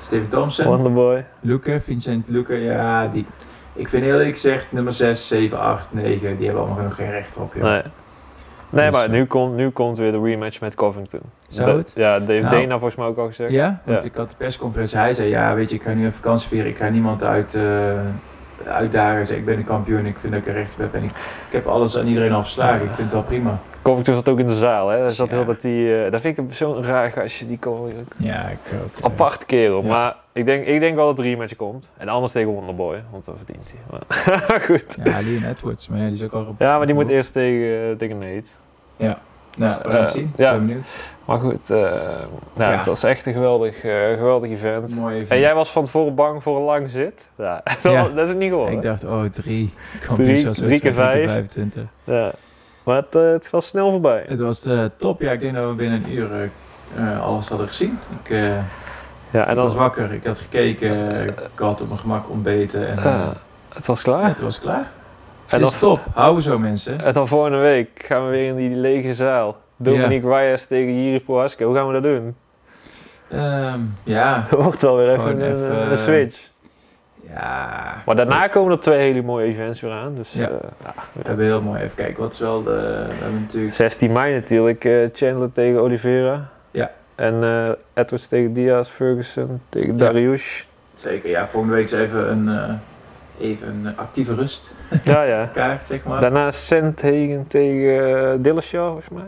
[SPEAKER 1] Steven Thompson.
[SPEAKER 3] Wonderboy.
[SPEAKER 1] Luca, Vincent Luca, ja, die... Ik vind heel eerlijk gezegd nummer 6, 7, 8, 9, die hebben allemaal nog geen recht op, joh.
[SPEAKER 3] Nee. Nee,
[SPEAKER 1] Dus,
[SPEAKER 3] maar
[SPEAKER 1] eh,
[SPEAKER 3] nu komt, nu komt weer de rematch met Covington.
[SPEAKER 1] Zou
[SPEAKER 3] Dat-
[SPEAKER 1] het?
[SPEAKER 3] Ja, dat heeft
[SPEAKER 1] Nou.
[SPEAKER 3] Dana volgens mij ook al gezegd.
[SPEAKER 1] Ja, want
[SPEAKER 3] Ja.
[SPEAKER 1] ik had de persconferentie. Hij zei, ja, weet je, ik ga nu even vakantie vieren. Ik ga niemand uit, eh, uitdagen. Hij zei, ik ben een kampioen. Ik vind dat ik er recht op heb. En ik, ik heb alles aan iedereen al verslagen. Ik vind het wel prima.
[SPEAKER 3] Covington zat ook in de zaal, hè. Daar zat
[SPEAKER 1] Ja.
[SPEAKER 3] heel dat die... eh, daar vind ik zo'n raar gastje, die kon...
[SPEAKER 1] Ja, ik ook.
[SPEAKER 3] Apart kerel,
[SPEAKER 1] Ja.
[SPEAKER 3] maar ik denk, ik denk wel dat de rematch komt. En anders tegen Wonderboy, want dan verdient hij. Maar, goed.
[SPEAKER 1] Ja, Leon Edwards. Maar ja, die is ook al... op-
[SPEAKER 3] Ja, maar die moet eerst tegen, eh, tegen Nate.
[SPEAKER 1] Nou, we gaan het
[SPEAKER 3] eh,
[SPEAKER 1] zien. Ik
[SPEAKER 3] ja.
[SPEAKER 1] ben benieuwd.
[SPEAKER 3] Maar goed, eh, nou,
[SPEAKER 1] Ja.
[SPEAKER 3] het was echt een geweldig, eh, geweldig event.
[SPEAKER 1] Mooi even.
[SPEAKER 3] En jij was van tevoren bang voor een lang zit? Ja, dat,
[SPEAKER 1] Ja.
[SPEAKER 3] dat is het niet geworden.
[SPEAKER 1] Ik dacht, oh, drie.
[SPEAKER 3] Drie-
[SPEAKER 1] kampioenschaps-
[SPEAKER 3] drie keer vijf.
[SPEAKER 1] 25.
[SPEAKER 3] Ja. Maar het, eh, het was snel voorbij.
[SPEAKER 1] Het was eh, top. Ja, ik denk dat we binnen een uur eh, eh, alles hadden gezien. Ik, eh,
[SPEAKER 3] ja, en
[SPEAKER 1] ik was
[SPEAKER 3] dan,
[SPEAKER 1] wakker. Ik had gekeken. ik had op mijn gemak ontbeten. En, eh,
[SPEAKER 3] ja, het was klaar.
[SPEAKER 1] Ja, het was klaar.
[SPEAKER 3] Ah.
[SPEAKER 1] Het
[SPEAKER 3] en, dan,
[SPEAKER 1] is top. Houden zo mensen.
[SPEAKER 3] en dan volgende week gaan we weer in die lege zaal. Dominique Reyes tegen Jiri Prohaska. Hoe gaan we dat doen?
[SPEAKER 1] Ehm, ja.
[SPEAKER 3] Dat wordt wel weer even,
[SPEAKER 1] Gewoon
[SPEAKER 3] een,
[SPEAKER 1] even, eh,
[SPEAKER 3] een switch.
[SPEAKER 1] Ja.
[SPEAKER 3] Maar daarna komen er twee hele mooie events weer aan. Dus,
[SPEAKER 1] Ja.
[SPEAKER 3] eh,
[SPEAKER 1] We hebben heel mooi. Even kijken. Wat is wel de... We hebben natuurlijk...
[SPEAKER 3] 16 mei natuurlijk. eh, Chandler tegen Oliveira.
[SPEAKER 1] Ja.
[SPEAKER 3] En eh, Edwards tegen Diaz, Ferguson tegen
[SPEAKER 1] Ja.
[SPEAKER 3] Darius.
[SPEAKER 1] Zeker. Ja, volgende week is even een... eh, even een actieve rust.
[SPEAKER 3] Ja, ja.
[SPEAKER 1] Kaart, zeg maar.
[SPEAKER 3] Daarna Sandhagen tegen eh, Dillashaw, volgens mij.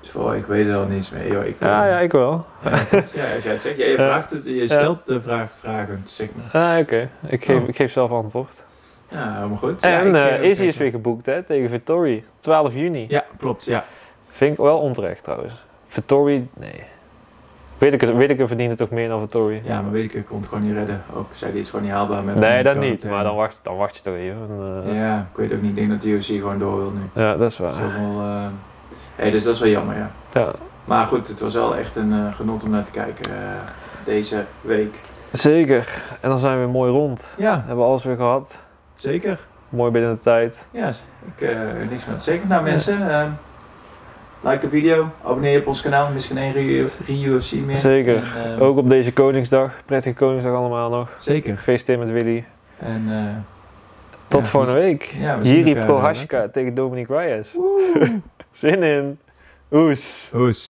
[SPEAKER 1] Dus voor, ik weet er al niets mee. Joh, ik,
[SPEAKER 3] Ja,
[SPEAKER 1] eh,
[SPEAKER 3] ja, ik wel.
[SPEAKER 1] ja, goed. Ja, als jij het zegt. Jij
[SPEAKER 3] Ja.
[SPEAKER 1] vraagt het. Je stelt de vraag vragend, zeg maar.
[SPEAKER 3] Ah, oké. Ik, geef,
[SPEAKER 1] Oh.
[SPEAKER 3] ik geef zelf antwoord.
[SPEAKER 1] Ja, helemaal goed. Ja,
[SPEAKER 3] En
[SPEAKER 1] ik,
[SPEAKER 3] eh
[SPEAKER 1] eh,
[SPEAKER 3] Izzy
[SPEAKER 1] kijk
[SPEAKER 3] is weer geboekt hè, tegen Vittori. 12 juni.
[SPEAKER 1] wel. Ja, klopt. Ja.
[SPEAKER 3] Vind ik wel onterecht trouwens. Vittori, nee. Weet ik, weet ik verdient het toch meer dan Vittori?
[SPEAKER 1] Ja, maar weet ik, ik kon het gewoon niet redden. Ook zei die is gewoon niet haalbaar met
[SPEAKER 3] nee,
[SPEAKER 1] met
[SPEAKER 3] dat
[SPEAKER 1] corona.
[SPEAKER 3] niet. Maar dan wacht, dan wacht je toch even. eh. ja.
[SPEAKER 1] Ja, ik weet ook niet. Ik denk dat de UFC gewoon door wil nu.
[SPEAKER 3] dat is waar.
[SPEAKER 1] Zoveel, eh, hey, dus dat is wel jammer, ja.
[SPEAKER 3] Ja.
[SPEAKER 1] Maar goed, het was wel echt een eh, genot om naar te kijken eh, deze week.
[SPEAKER 3] Zeker. En dan zijn we mooi rond.
[SPEAKER 1] Ja,
[SPEAKER 3] Hebben we alles weer gehad.
[SPEAKER 1] zeker.
[SPEAKER 3] Mooi binnen de tijd.
[SPEAKER 1] Ja, yes. ik eh, niks meer te zeggen. Nou mensen, ehm, like de video, abonneer je op ons kanaal. Misschien één Rio- Rio UFC meer.
[SPEAKER 3] Zeker.
[SPEAKER 1] En, ehm,
[SPEAKER 3] Ook op deze Koningsdag. Prettige Koningsdag allemaal nog.
[SPEAKER 1] Zeker.
[SPEAKER 3] Gefeliciteerd met Willy.
[SPEAKER 1] En eh,
[SPEAKER 3] Tot
[SPEAKER 1] Ja, dus-
[SPEAKER 3] volgende week.
[SPEAKER 1] ja, we zien
[SPEAKER 3] Jiri
[SPEAKER 1] elkaar wel, hè.
[SPEAKER 3] Prohaska tegen Dominic Reyes. Zin in. Oes.
[SPEAKER 1] Hoes.